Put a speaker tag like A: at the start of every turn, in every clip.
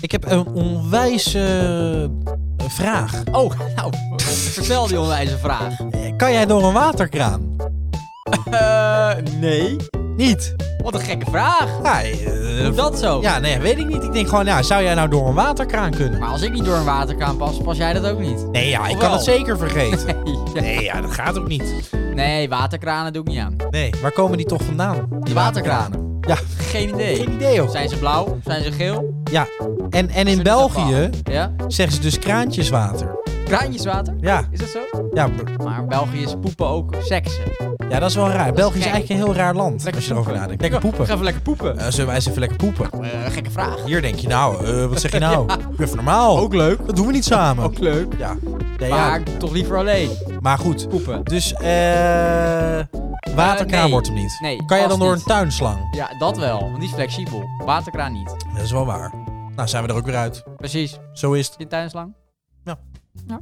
A: Ik heb een onwijze eh, vraag.
B: Oh, nou, vertel die onwijze vraag.
A: Kan jij door een waterkraan?
B: Eh, nee.
A: Niet?
B: Wat een gekke vraag.
A: Ja, eh,
B: Hoe dat zo?
A: ja, nee, weet ik niet. Ik denk gewoon, ja, zou jij nou door een waterkraan kunnen?
B: Maar als ik niet door een waterkraan pas, pas jij dat ook niet.
A: Nee, ja, ik
B: Of
A: kan
B: wel?
A: het zeker vergeten.
B: Ja.
A: Nee, ja, dat gaat ook niet.
B: Nee, waterkranen doe ik niet aan.
A: Nee, waar komen die toch vandaan?
B: Die waterkranen.
A: Ja,
B: Geen idee.
A: geen idee hoor.
B: Zijn ze blauw? Zijn ze geel?
A: Ja, en, en
B: Zijn
A: in
B: ze
A: België
B: blauw? Ja?
A: zeggen ze dus kraantjeswater.
B: Kraantjeswater?
A: Ja,
B: Is dat zo?
A: ja, b-
B: Maar België is poepen ook seksen.
A: ja, dat is wel raar. België is
B: gek.
A: eigenlijk een heel raar land. als je erover
B: poepen.
A: nadenkt. Lekker poepen.
B: Ga even lekker poepen.
A: Eh, zullen wij eens even lekker poepen?
B: Eh, gekke vraag.
A: Hier denk je, nou, eh, wat zeg je nou? Ik ben even normaal. Ook leuk. Dat doen we niet samen.
B: Ook leuk.
A: Ja. Nee, ja.
B: Maar toch liever alleen.
A: maar goed.
B: Poepen.
A: Dus, eh. Waterkraan
B: Eh, nee.
A: wordt hem niet.
B: Nee,
A: kan jij
B: past
A: dan door
B: niet.
A: een tuinslang?
B: Ja, dat wel. Want die is flexibel. Waterkraan niet.
A: Dat is wel waar. Nou, zijn we er ook weer uit.
B: Precies.
A: Zo is het.
B: Je tuinslang?
A: Ja.
B: Ja.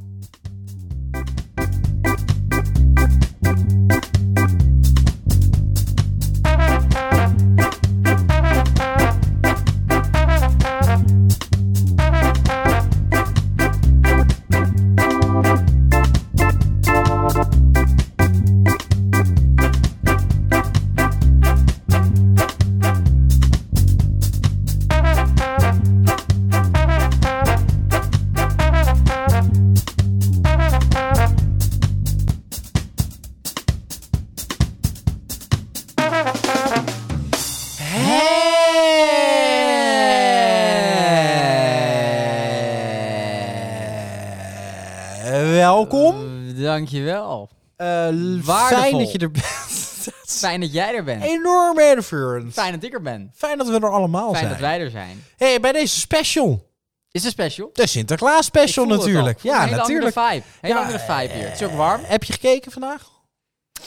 A: Eh, welkom.
B: Eh, Dankjewel.
A: Eh, l-
B: Waardevol.
A: fijn dat je er bent. Dat is
B: Fijn dat jij er bent.
A: Enorm erfurend.
B: Fijn dat ik er ben.
A: Fijn dat we er allemaal
B: Fijn dat
A: zijn.
B: wij er zijn.
A: hey, bij deze special.
B: Is het special?
A: De Sinterklaas special
B: Ik voel het al.
A: natuurlijk.
B: Ik voel
A: Ja,
B: een hele
A: natuurlijk.
B: Andere vibe. Hele
A: Ja,
B: andere vibe hier.
A: eh,
B: Het is ook warm.
A: Heb je gekeken vandaag?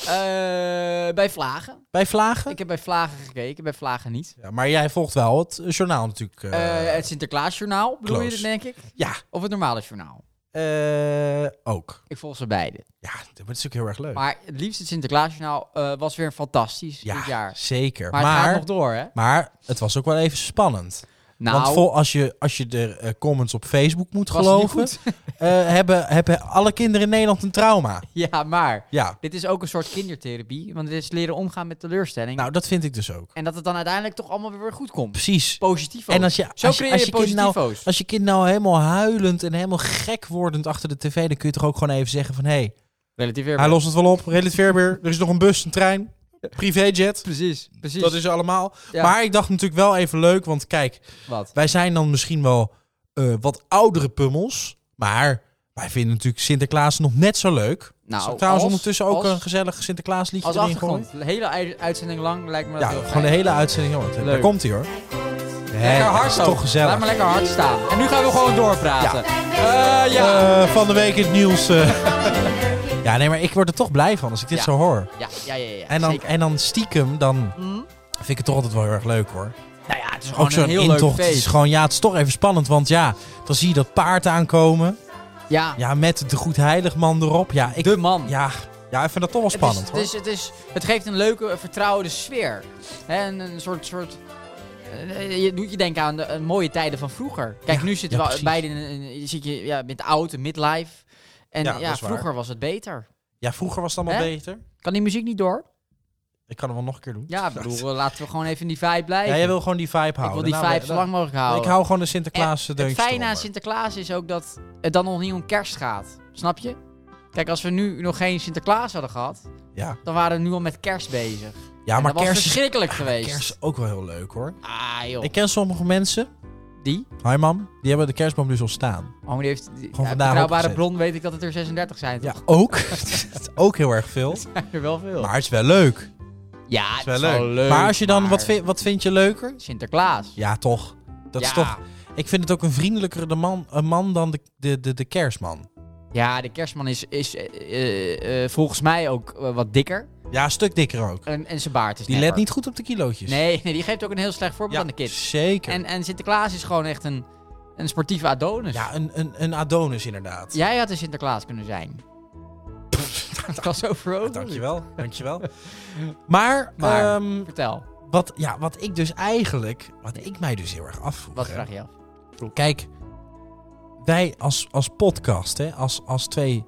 B: Eh, bij Vlagen.
A: Bij Vlagen?
B: Ik heb bij Vlagen gekeken, bij Vlagen niet.
A: Ja, maar jij volgt wel het eh, journaal natuurlijk. eh,
B: Eh, het Sinterklaasjournaal bedoel je
A: close.
B: dat, denk ik?
A: ja,
B: Of het normale journaal?
A: eh, ook.
B: Ik volg ze beide.
A: Ja, dat is natuurlijk heel erg leuk.
B: Maar het liefst het Sinterklaasjournaal eh, was weer fantastisch
A: ja,
B: dit jaar.
A: zeker.
B: Maar,
A: Maar,
B: het gaat
A: maar,
B: nog door, hè?
A: het was ook wel even spannend.
B: Nou,
A: Want vol, als, je, als je de eh, comments op Facebook moet
B: was het niet
A: geloven,
B: goed.
A: eh, hebben, hebben alle kinderen in Nederland een trauma.
B: ja, maar
A: Ja,
B: dit is ook een soort kindertherapie. Want dit is leren omgaan met teleurstelling.
A: nou dat vind ik dus ook.
B: En dat het dan uiteindelijk toch allemaal weer goed komt.
A: Positief.
B: Positief
A: En als je,
B: Zo
A: als, je-
B: creëer
A: als
B: je,
A: je kind nou,
B: positivo's.
A: als je kind nou helemaal huilend en helemaal gek wordend achter de tv, dan kun je toch ook gewoon even zeggen van, hé, hey,
B: Relatief weer.
A: hij lost het wel op, relatief weer weer. Er is nog een bus, een trein, privéjet.
B: Precies, precies.
A: Dat is allemaal.
B: Ja.
A: Maar ik dacht natuurlijk wel even leuk, want kijk,
B: wat.
A: wij zijn dan misschien wel eh, wat oudere pummels, maar wij vinden natuurlijk Sinterklaas nog net zo leuk.
B: Nou,
A: Zo, trouwens
B: als-
A: ondertussen ook
B: als-
A: een gezellig Sinterklaas liedje
B: Als
A: erin gewoon.
B: achtergrond. De hele ui- uitzending lang lijkt me dat
A: Ja,
B: heel
A: gewoon
B: fijn.
A: de hele uitzending. hoor. Daar
B: Leuk.
A: komt hij hoor.
B: Lekker
A: dat
B: hard
A: is
B: zo.
A: toch gezellig.
B: Laat maar lekker hard staan. En nu gaan we gewoon doorpraten. Ja. ja.
A: Eh, van de week in het nieuws. eh. ja, nee, maar ik word er toch blij van als ik dit
B: Ja.
A: zo hoor.
B: ja, ja, ja, ja.
A: En dan,
B: zeker.
A: en dan stiekem, dan
B: Mhm.
A: vind ik het toch altijd wel heel erg leuk hoor.
B: Nou ja, het is gewoon
A: Ook zo'n
B: een heel
A: intocht.
B: leuk
A: Het
B: feest.
A: is gewoon, ja, het is toch even spannend. Want ja, dan zie je dat paard aankomen.
B: Ja,
A: Ja, met de Goed Heiligman erop. Ja, ik,
B: de man.
A: ja, ja, ik vind dat toch wel
B: Het
A: spannend
B: is,
A: hoor.
B: het, is, het, is, het geeft een leuke, eh, vertrouwde sfeer. Hè, een, een soort... soort eh, je doet je denken aan de eh, mooie tijden van vroeger. Kijk,
A: Ja,
B: nu zitten
A: ja,
B: we
A: precies.
B: beiden in, een- je zit je, ja, met oud, een midlife. En
A: Ja,
B: ja,
A: dat is waar.
B: vroeger was het beter.
A: Ja, vroeger was het allemaal
B: Hè?
A: beter.
B: Kan die muziek niet door?
A: Ik kan hem wel nog een keer doen.
B: Ja, ik bedoel, eh, laten we gewoon even in die vibe blijven.
A: Ja, jij wil gewoon die vibe houden.
B: ik wil die
A: Nou,
B: vibe
A: we-
B: zo lang mogelijk houden.
A: Ik hou gewoon de Sinterklaas
B: En
A: deuntjes
B: Het fijne aan
A: eronder.
B: Sinterklaas is ook dat het dan nog niet om kerst gaat. Snap je? Kijk, als we nu nog geen Sinterklaas hadden gehad,
A: Ja,
B: dan waren we nu al met kerst bezig.
A: ja
B: En
A: maar
B: dat was
A: kerst is
B: verschrikkelijk geweest.
A: kerst is ook wel heel leuk hoor.
B: Ah, joh.
A: Ik ken sommige mensen
B: Die?
A: Hi mam, die hebben de kerstboom dus al staan.
B: Oh, maar die heeft... Die,
A: vandaag
B: ja, betrouwbare
A: opgezet.
B: bron weet ik dat het er 36 zijn.
A: Ja,
B: toch?
A: ook. ook heel erg veel.
B: zijn er wel veel.
A: Maar het is wel leuk.
B: ja,
A: Het is wel leuk. Maar als je dan, wat, vind, wat vind je leuker?
B: Sinterklaas.
A: Ja, toch. Dat is
B: Ja.
A: toch... Ik vind het ook een vriendelijkere de man, een man dan de, de, de, de kerstman.
B: Ja, de kerstman is, is eh, eh, eh, volgens mij ook eh, wat dikker.
A: Ja, een stuk dikker ook.
B: En, en zijn baard is
A: Die
B: nepper.
A: let niet goed op de kilootjes.
B: Nee, nee, die geeft ook een heel slecht voorbeeld
A: ja,
B: aan de kids.
A: zeker.
B: En, en Sinterklaas is gewoon echt een, een sportieve Adonis.
A: Ja, een, een, een Adonis inderdaad.
B: Jij had een Sinterklaas kunnen zijn. Gras over ogen.
A: Dankjewel, dankjewel. Maar,
B: Maar-
A: ehm,
B: Vertel,
A: wat, ja, wat ik dus eigenlijk, wat ik mij dus heel erg afvroeg.
B: wat
A: hè.
B: vraag je af?
A: Kijk, wij als, als podcast, hè, als, als twee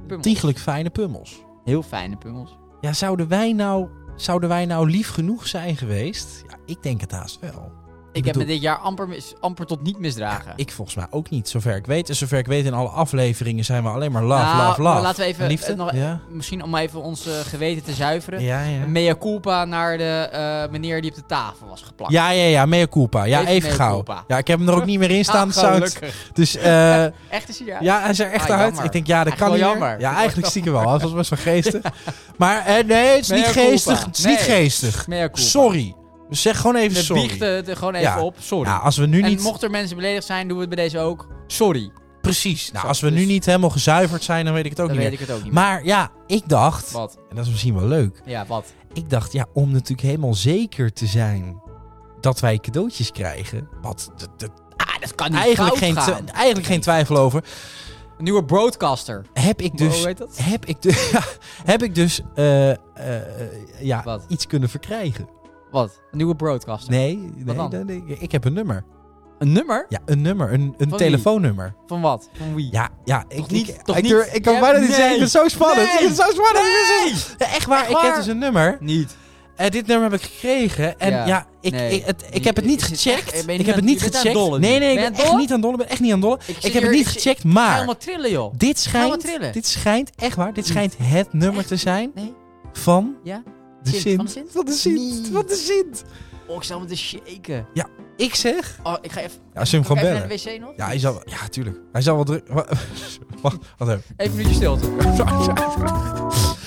B: Pummels.
A: tiegelijk fijne pummels.
B: Heel fijne pummels.
A: Ja, zouden wij nou, zouden wij nou lief genoeg zijn geweest? Ja, ik denk het haast wel.
B: Ik, heb
A: bedoel-
B: me dit jaar amper, mis- amper tot niet misdragen.
A: Ik volgens mij ook niet, zover ik weet. En zover ik weet in alle afleveringen zijn we alleen maar love,
B: Nou,
A: love, love.
B: maar laten we even,
A: En liefde.
B: eh, nog-
A: ja.
B: Misschien om even ons eh, geweten te zuiveren.
A: Ja, ja.
B: Een Mea culpa naar de eh, meneer die op de tafel was geplakt. Ah,
A: Ja, ja, ja, mea culpa. Ja,
B: Even
A: even,
B: mea
A: gauw.
B: culpa.
A: Ja, ik heb hem er ook niet meer in
B: Ah,
A: staan. het sound.
B: gelukkig.
A: Dus eh,
B: Echt is hij ja.
A: ja, hij is er echt
B: Ah,
A: uit.
B: jammer.
A: Ik denk, ja, dat
B: Eigenlijk
A: kan
B: wel
A: niet meer.
B: jammer.
A: Ja, eigenlijk stiekem wel. Hij was best wel geestig. Maar eh, nee, het is niet geestig. Het is niet geestig.
B: Mea culpa.
A: Sorry. Dus zeg gewoon even
B: We biechten
A: sorry.
B: het eh, er gewoon even
A: Ja.
B: op. Sorry.
A: Ja, als we nu
B: en
A: niet...
B: mocht er mensen beledigd zijn, doen we het bij deze ook. Sorry.
A: Precies. Nou,
B: Zo,
A: als we
B: dus-
A: nu niet helemaal gezuiverd zijn, dan weet ik het ook
B: Dan
A: niet
B: weet
A: meer.
B: ik het ook niet
A: Maar ja, ik dacht...
B: meer. Wat?
A: En dat is misschien wel leuk.
B: Ja, wat?
A: Ik dacht, ja, om natuurlijk helemaal zeker te zijn dat wij cadeautjes krijgen. Wat dat- dat-
B: Ah, dat kan niet
A: eigenlijk, geen,
B: fout
A: twi-
B: gaan.
A: eigenlijk geen twijfel over.
B: Een nieuwe broadcaster.
A: Heb ik dus
B: Hoe heet dat?
A: heb ik dus, ja, heb ik dus eh, eh, eh, ja,
B: Wat?
A: iets kunnen verkrijgen.
B: Wat? Een nieuwe broadcaster.
A: Nee, nee,
B: dan?
A: nee, nee, ik heb een nummer.
B: Een nummer?
A: Ja, een nummer, een, een
B: wie?
A: telefoonnummer.
B: Van wat? Van wie?
A: Ja, ja, ik,
B: niet,
A: ik,
B: toch
A: ik,
B: niet?
A: durf- ik kan
B: Ja,
A: bijna niet
B: nee.
A: zeggen, ik vind het zo spannend.
B: Nee.
A: Ik vind het zo spannend. ik vind het zo- Ja, echt waar,
B: Echt
A: ik heb
B: waar?
A: dus een nummer.
B: Niet.
A: Eh, dit nummer heb ik gekregen en ja,
B: Ja,
A: ik,
B: nee.
A: ik, het, ik
B: Die-
A: heb het niet
B: is het echt-
A: gecheckt.
B: ben je
A: ik heb
B: niet
A: het
B: aan-
A: niet
B: je bent aan
A: gecheckt.
B: het dollen nu.
A: Nee, nee, ik
B: Ben je
A: ben
B: aan
A: echt
B: het
A: niet aan het dollen. ben echt niet aan het dollen.
B: Ik
A: Ik, heb
B: zit
A: het
B: hier-
A: niet
B: ik zit-
A: gecheckt,
B: Ik ga
A: maar
B: helemaal trillen, joh.
A: dit
B: helemaal
A: schijnt,
B: trillen.
A: dit schijnt, echt waar, dit
B: Niet.
A: schijnt het nummer
B: Echt?
A: te zijn
B: Nee?
A: van
B: Ja?
A: de
B: Sint,
A: Sint.
B: van Sint?
A: Van de
B: Niet.
A: Sint. Van de Sint.
B: Oh, ik zal me te shaken.
A: Ik zeg.
B: Oh, ik ga even...
A: Ja, als je hem
B: Kan
A: gewoon
B: ik even
A: bellen.
B: naar de wc nog?
A: Ja, hij zal, ja, tuurlijk. Hij zal wel druk. wa- Wacht, wacht even.
B: Even een minuutje stilte.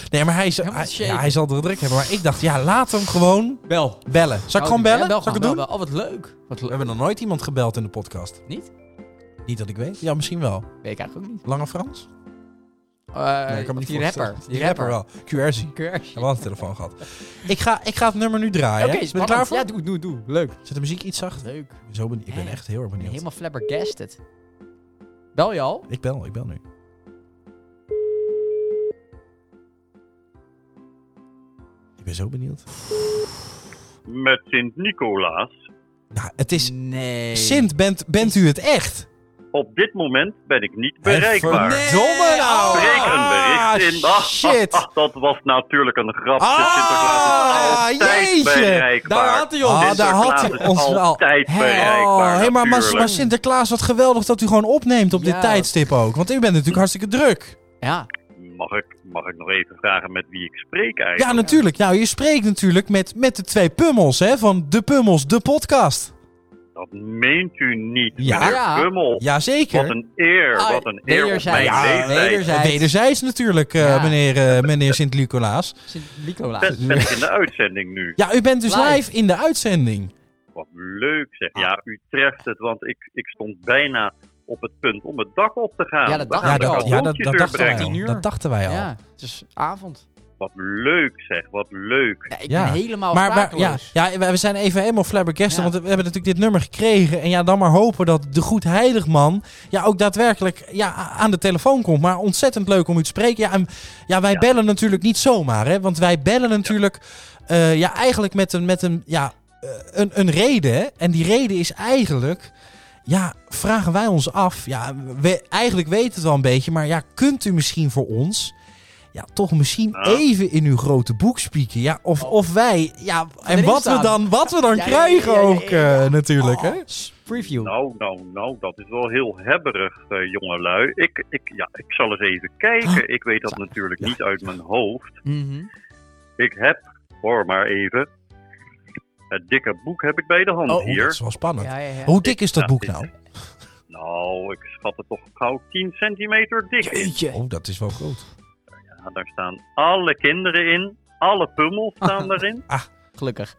A: Nee, maar hij, zal-
B: Helemaal
A: hij,
B: shaken.
A: ja, hij zal er druk hebben. Maar ik dacht, ja, laat hem gewoon
B: Bel.
A: bellen. Zal ik
B: Oh,
A: gewoon
B: die-
A: bellen?
B: ja, bel
A: Zal ik het
B: gewoon,
A: doen?
B: bel, bel. Oh, wat leuk. Wat
A: We
B: leuk.
A: hebben nog nooit iemand gebeld in de podcast.
B: Niet?
A: Niet dat ik weet. Ja, misschien wel.
B: Weet ik eigenlijk ook niet.
A: Lange Frans?
B: Eh,
A: Nee, ik kan me niet
B: of die
A: voorstellen.
B: rapper.
A: Die rapper wel. QRZ. Ik
B: Keur.
A: heb wel een telefoon gehad. Ik ga, ik ga het nummer nu draaien. hè?
B: Oké,
A: ben je
B: spannend.
A: klaar voor?
B: Ja, doe, doe, doe. Leuk.
A: Zet de muziek iets zacht.
B: Leuk. Eh, Ik
A: Zo ben, ik ben
B: Ja.
A: echt heel erg
B: ben
A: benieuwd.
B: helemaal flabbergasted. Bel je al?
A: Ik bel, ik bel nu. Ik ben zo benieuwd.
C: met Sint-Nicolaas.
A: Nou, het is...
B: Nee.
A: Sint, bent, bent u het echt?
C: Op dit moment ben ik niet bereikbaar.
A: Hey, Verdomme nou!
C: Spreek een
A: Ah,
C: bericht in. Ah,
A: shit!
C: ah, dat was natuurlijk een grapje.
A: Ah,
C: Sinterklaas is altijd
A: jeetje.
C: bereikbaar.
B: Daar had hij ons.
A: Ah, daar
C: Sinterklaas
A: had
C: is
A: hij ons wel.
C: altijd
A: Hey,
C: bereikbaar,
A: oh, hey, maar, maar,
C: natuurlijk.
A: maar Sinterklaas, wat geweldig dat u gewoon opneemt op
B: Ja.
A: dit tijdstip ook. Want u bent natuurlijk hartstikke druk.
B: Ja.
C: Mag ik, mag ik nog even vragen met wie ik spreek
A: Ja,
C: eigenlijk?
A: natuurlijk. Nou, je spreekt natuurlijk met, met de twee pummels, hè? Van De Pummels, de podcast.
C: Dat meent u niet.
A: nou- Ja.
C: meneer
B: Ja.
C: Bummel. Wat
A: Jazeker.
C: een eer.
B: Ah,
C: wat een eer op mijn
B: wederzijds.
A: Ja,
C: leeftijd.
B: wederzijds.
A: Wederzijds natuurlijk, eh,
B: Ja.
A: meneer, eh, meneer Sint-Nicolaas.
B: Sint-Nicolaas.
C: Ben, ben ik in de uitzending nu?
A: Ja, u bent dus
B: Live.
A: live, in de uitzending.
C: Wat leuk
A: Ah.
C: zeg. Ja, u treft het, want ik, ik stond bijna op het punt om het dak op te gaan.
B: Ja, dat
C: We
B: dacht
A: Ja,
C: gaan
B: ik
C: de
A: dat,
B: al.
A: ja, dat,
C: cadeautjes
A: dat dachten wij
C: erbrengen.
B: nou, Tien
A: al.
B: uur.
A: Dat dachten wij al.
B: Ja, het is avond.
C: Wat leuk zeg, wat leuk.
B: Ja, ik
A: Ja.
B: ben helemaal
A: Maar, maar ja,
B: Nou, sprakeloos.
A: ja, we we zijn even helemaal flabbergasted,
B: Ja.
A: want we hebben natuurlijk dit nummer gekregen. En ja, dan maar hopen dat de goed heilig man ja, ook daadwerkelijk ja, a- aan de telefoon komt. Maar ontzettend leuk om u te spreken. Ja, en, ja wij
C: Ja.
A: bellen natuurlijk niet zomaar, hè, want wij bellen natuurlijk eh, ja, eigenlijk met een, met een, ja, eh, een, een reden. hè. En die reden is eigenlijk, ja, vragen wij ons af. Ja, we, eigenlijk weten het wel een beetje, maar ja, kunt u misschien voor ons... Ja, toch misschien
C: Ja.
A: even in uw grote boek spieken. Ja, of,
B: Oh.
A: of wij. Ja, en
B: Erin
A: wat we,
B: staan.
A: dan, wat we dan
B: Ja, ja, ja,
A: krijgen
B: ja, ja,
A: ook
B: ja.
A: eh, natuurlijk.
B: Oh,
A: Hè?
B: s- Preview.
C: Nou, nou, nou, dat is wel heel hebberig, eh jongelui. Ik, ik, ja, ik zal eens even kijken. Ik weet dat natuurlijk
A: Ah. Ja.
C: niet uit mijn hoofd.
B: Mhm.
C: Ik heb, hoor maar even, het dikke boek heb ik bij de hand
A: Oh, dat
C: hier.
A: is wel spannend.
B: Ja, ja, ja.
A: Hoe dik is dat
C: Ja,
A: boek
C: dit-
A: nou?
C: Nou, ik schat het toch gauw 10 centimeter dik in.
B: Jeetje.
A: Oh, dat is wel groot.
C: Ja, daar staan alle kinderen in. Alle pummels staan erin.
B: Gelukkig.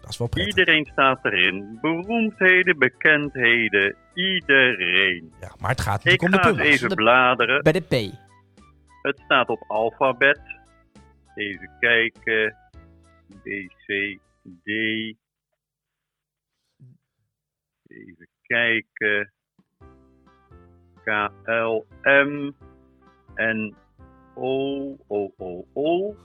A: Dat is wel prettig.
C: Iedereen staat erin. Beroemdheden, bekendheden, iedereen.
A: Ja, maar het gaat
C: Ik
A: natuurlijk om de
C: ga eens
A: pummels.
C: even
B: De-
C: bladeren.
B: Bij de P.
C: Het staat op alfabet. Even kijken. B, C, D. Even kijken. K, L, M. En oh, oh, oh, oh.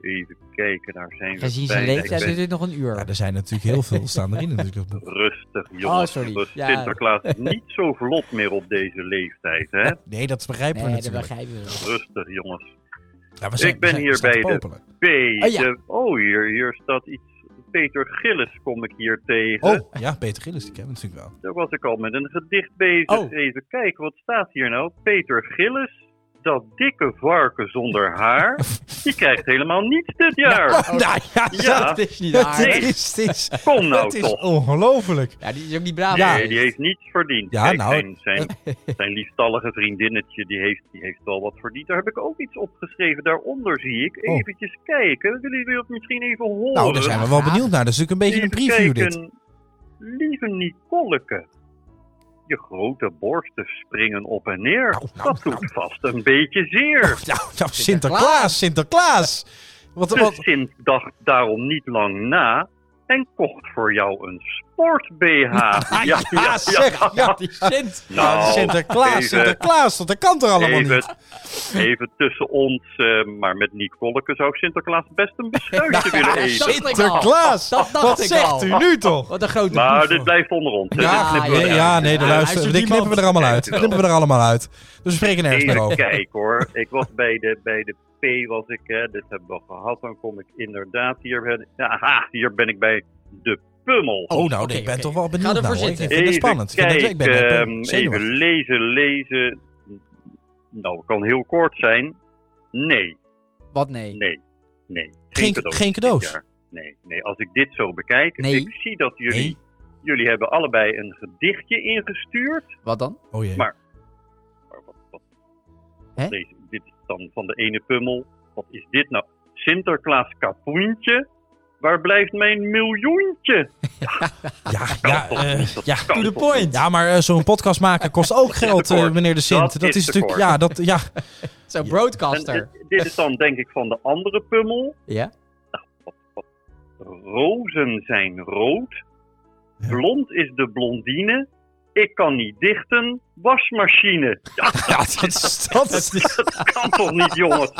C: Even kijken, daar zijn we
B: Gezien zijn
C: bijna. Ik
B: leeftijd
C: ben
B: duurt dit nog een uur.
A: Ja, er zijn natuurlijk heel veel staan erin natuurlijk dat boek.
C: Rustig, jongens.
B: Oh, sorry.
C: Rust-
B: Ja.
C: Sinterklaas is niet zo vlot meer op deze leeftijd, hè?
A: Nee, dat begrijpen we
B: nee, dat
A: natuurlijk.
B: begrijpen we wel.
C: Rustig, jongens.
A: Ja, we zijn-
C: Ik ben
A: we zijn-
C: hier
A: we staan te
C: bij de-
A: popelen.
C: Peter.
B: Oh, ja.
C: Oh, hier, hier staat iets. Peter Gillis kom ik hier tegen.
A: Oh, ja, Peter Gillis, die kennen we natuurlijk wel.
C: Daar was ik al met een gedicht bezig.
A: Oh.
C: Even kijken, wat staat hier nou? Peter Gillis, dat dikke varken zonder haar, die krijgt helemaal niets dit jaar.
A: nou ja,
C: Ja.
B: Dat is niet
A: dat
B: aardig.
A: is, het is,
C: Kom nou
A: het is
C: toch.
A: ongelooflijk.
B: Ja, die is ook niet braaf.
A: Ja.
C: Ah, Nee, die heeft niets verdiend.
A: Ja,
C: Kijk,
A: nou,
C: zijn, zijn, zijn liefstallige vriendinnetje, die heeft, die heeft wel wat verdiend. Daar heb ik ook iets opgeschreven. Daaronder zie ik.
A: Oh.
C: Eventjes kijken. Willen jullie dat misschien even horen?
A: Nou, daar zijn we wel
B: Ja.
A: benieuwd naar. Dat is natuurlijk een beetje een
C: Even
A: preview dit.
C: kijken. Lieve Nicoleke, je grote borsten springen op en neer.
A: Nou, nou,
C: dat doet
A: nou.
C: vast een beetje zeer.
A: Nou, nou, Sinterklaas, Sinterklaas. Wat,
C: De
A: wat,
C: Sint dacht daarom niet lang na en kocht voor jou een sport-BH. Ja, ja, ja.
A: ah, zeg, ja,
B: Die Sint.
A: ja,
C: Nou,
A: Sinterklaas,
C: even-
A: Sinterklaas, want dat kan toch allemaal niet?
C: Even, even tussen ons, eh, maar met Nicoleke zou Sinterklaas best een beschuitje willen
B: Ja,
C: eten.
B: Sinterklaas.
A: Sinterklaas,
B: Dat dacht
A: wat
B: ik
A: zegt
B: al.
A: u nu toch?
B: Wat een grote
C: Maar
B: poef.
C: dit blijft onder ons. hè. Dit
A: Ja,
C: knippen we
A: nee,
B: ja,
C: eruit.
A: ja, nee, de
B: Ja,
A: luister,
B: luistert
A: die knippen we
B: niemand.
A: er allemaal uit.
C: Kijk wel.
A: Knippen we er allemaal uit. Dus we spreken nergens meer
C: Even
A: over.
C: kijk hoor. Ik was bij de, bij de P was ik, hè. dit hebben we gehad. Dan kom ik inderdaad hier. Ben, aha, hier ben ik bij de Pummel.
A: Oh, nou,
B: Oké,
A: ik ben
B: oké.
A: toch wel benieuwd.
B: Ga
A: nou,
B: ervoor
A: hoor.
B: zitten.
A: Ik vind het spannend. Ik, vind het- ik
C: kijken,
A: ben, ik ben
C: ehm,
A: zenuwachtig.
C: even lezen, lezen. Nou, het kan heel kort zijn. Nee,
B: Wat nee?
C: nee, nee.
A: Geen- geen
C: dit
A: cadeaus?
C: jaar. Nee, nee, als ik dit zo bekijk,
B: Nee.
C: ik zie dat jullie,
A: Nee.
C: jullie hebben allebei een gedichtje ingestuurd.
B: Wat dan?
A: Oh jee.
C: Maar- Maar wat, wat,
B: Hè?
C: deze, dit is dan van de ene pummel. Wat is dit nou? Sinterklaas Kapoentje? Waar blijft mijn miljoentje?
A: Ja, ja,
C: toch
A: eh,
C: niet, dat
A: ja.
C: kan To the toch point. niet.
A: Ja, maar eh, zo'n podcast maken kost ook geld, eh,
C: tekort.
A: meneer de Sint. Dat,
C: Dat is
A: is natuurlijk,
C: tekort.
A: ja, dat, ja.
B: Zo'n
A: Ja.
C: En,
B: broadcaster.
C: eh, dit is dan denk ik van de andere pummel.
B: Ja?
A: Nou.
C: Rozen zijn rood.
A: Ja.
C: Blond is de blondine. Ik kan niet dichten. Wasmachine. Ja,
A: ja dat, is, dat is-
C: dat kan toch niet, jongens?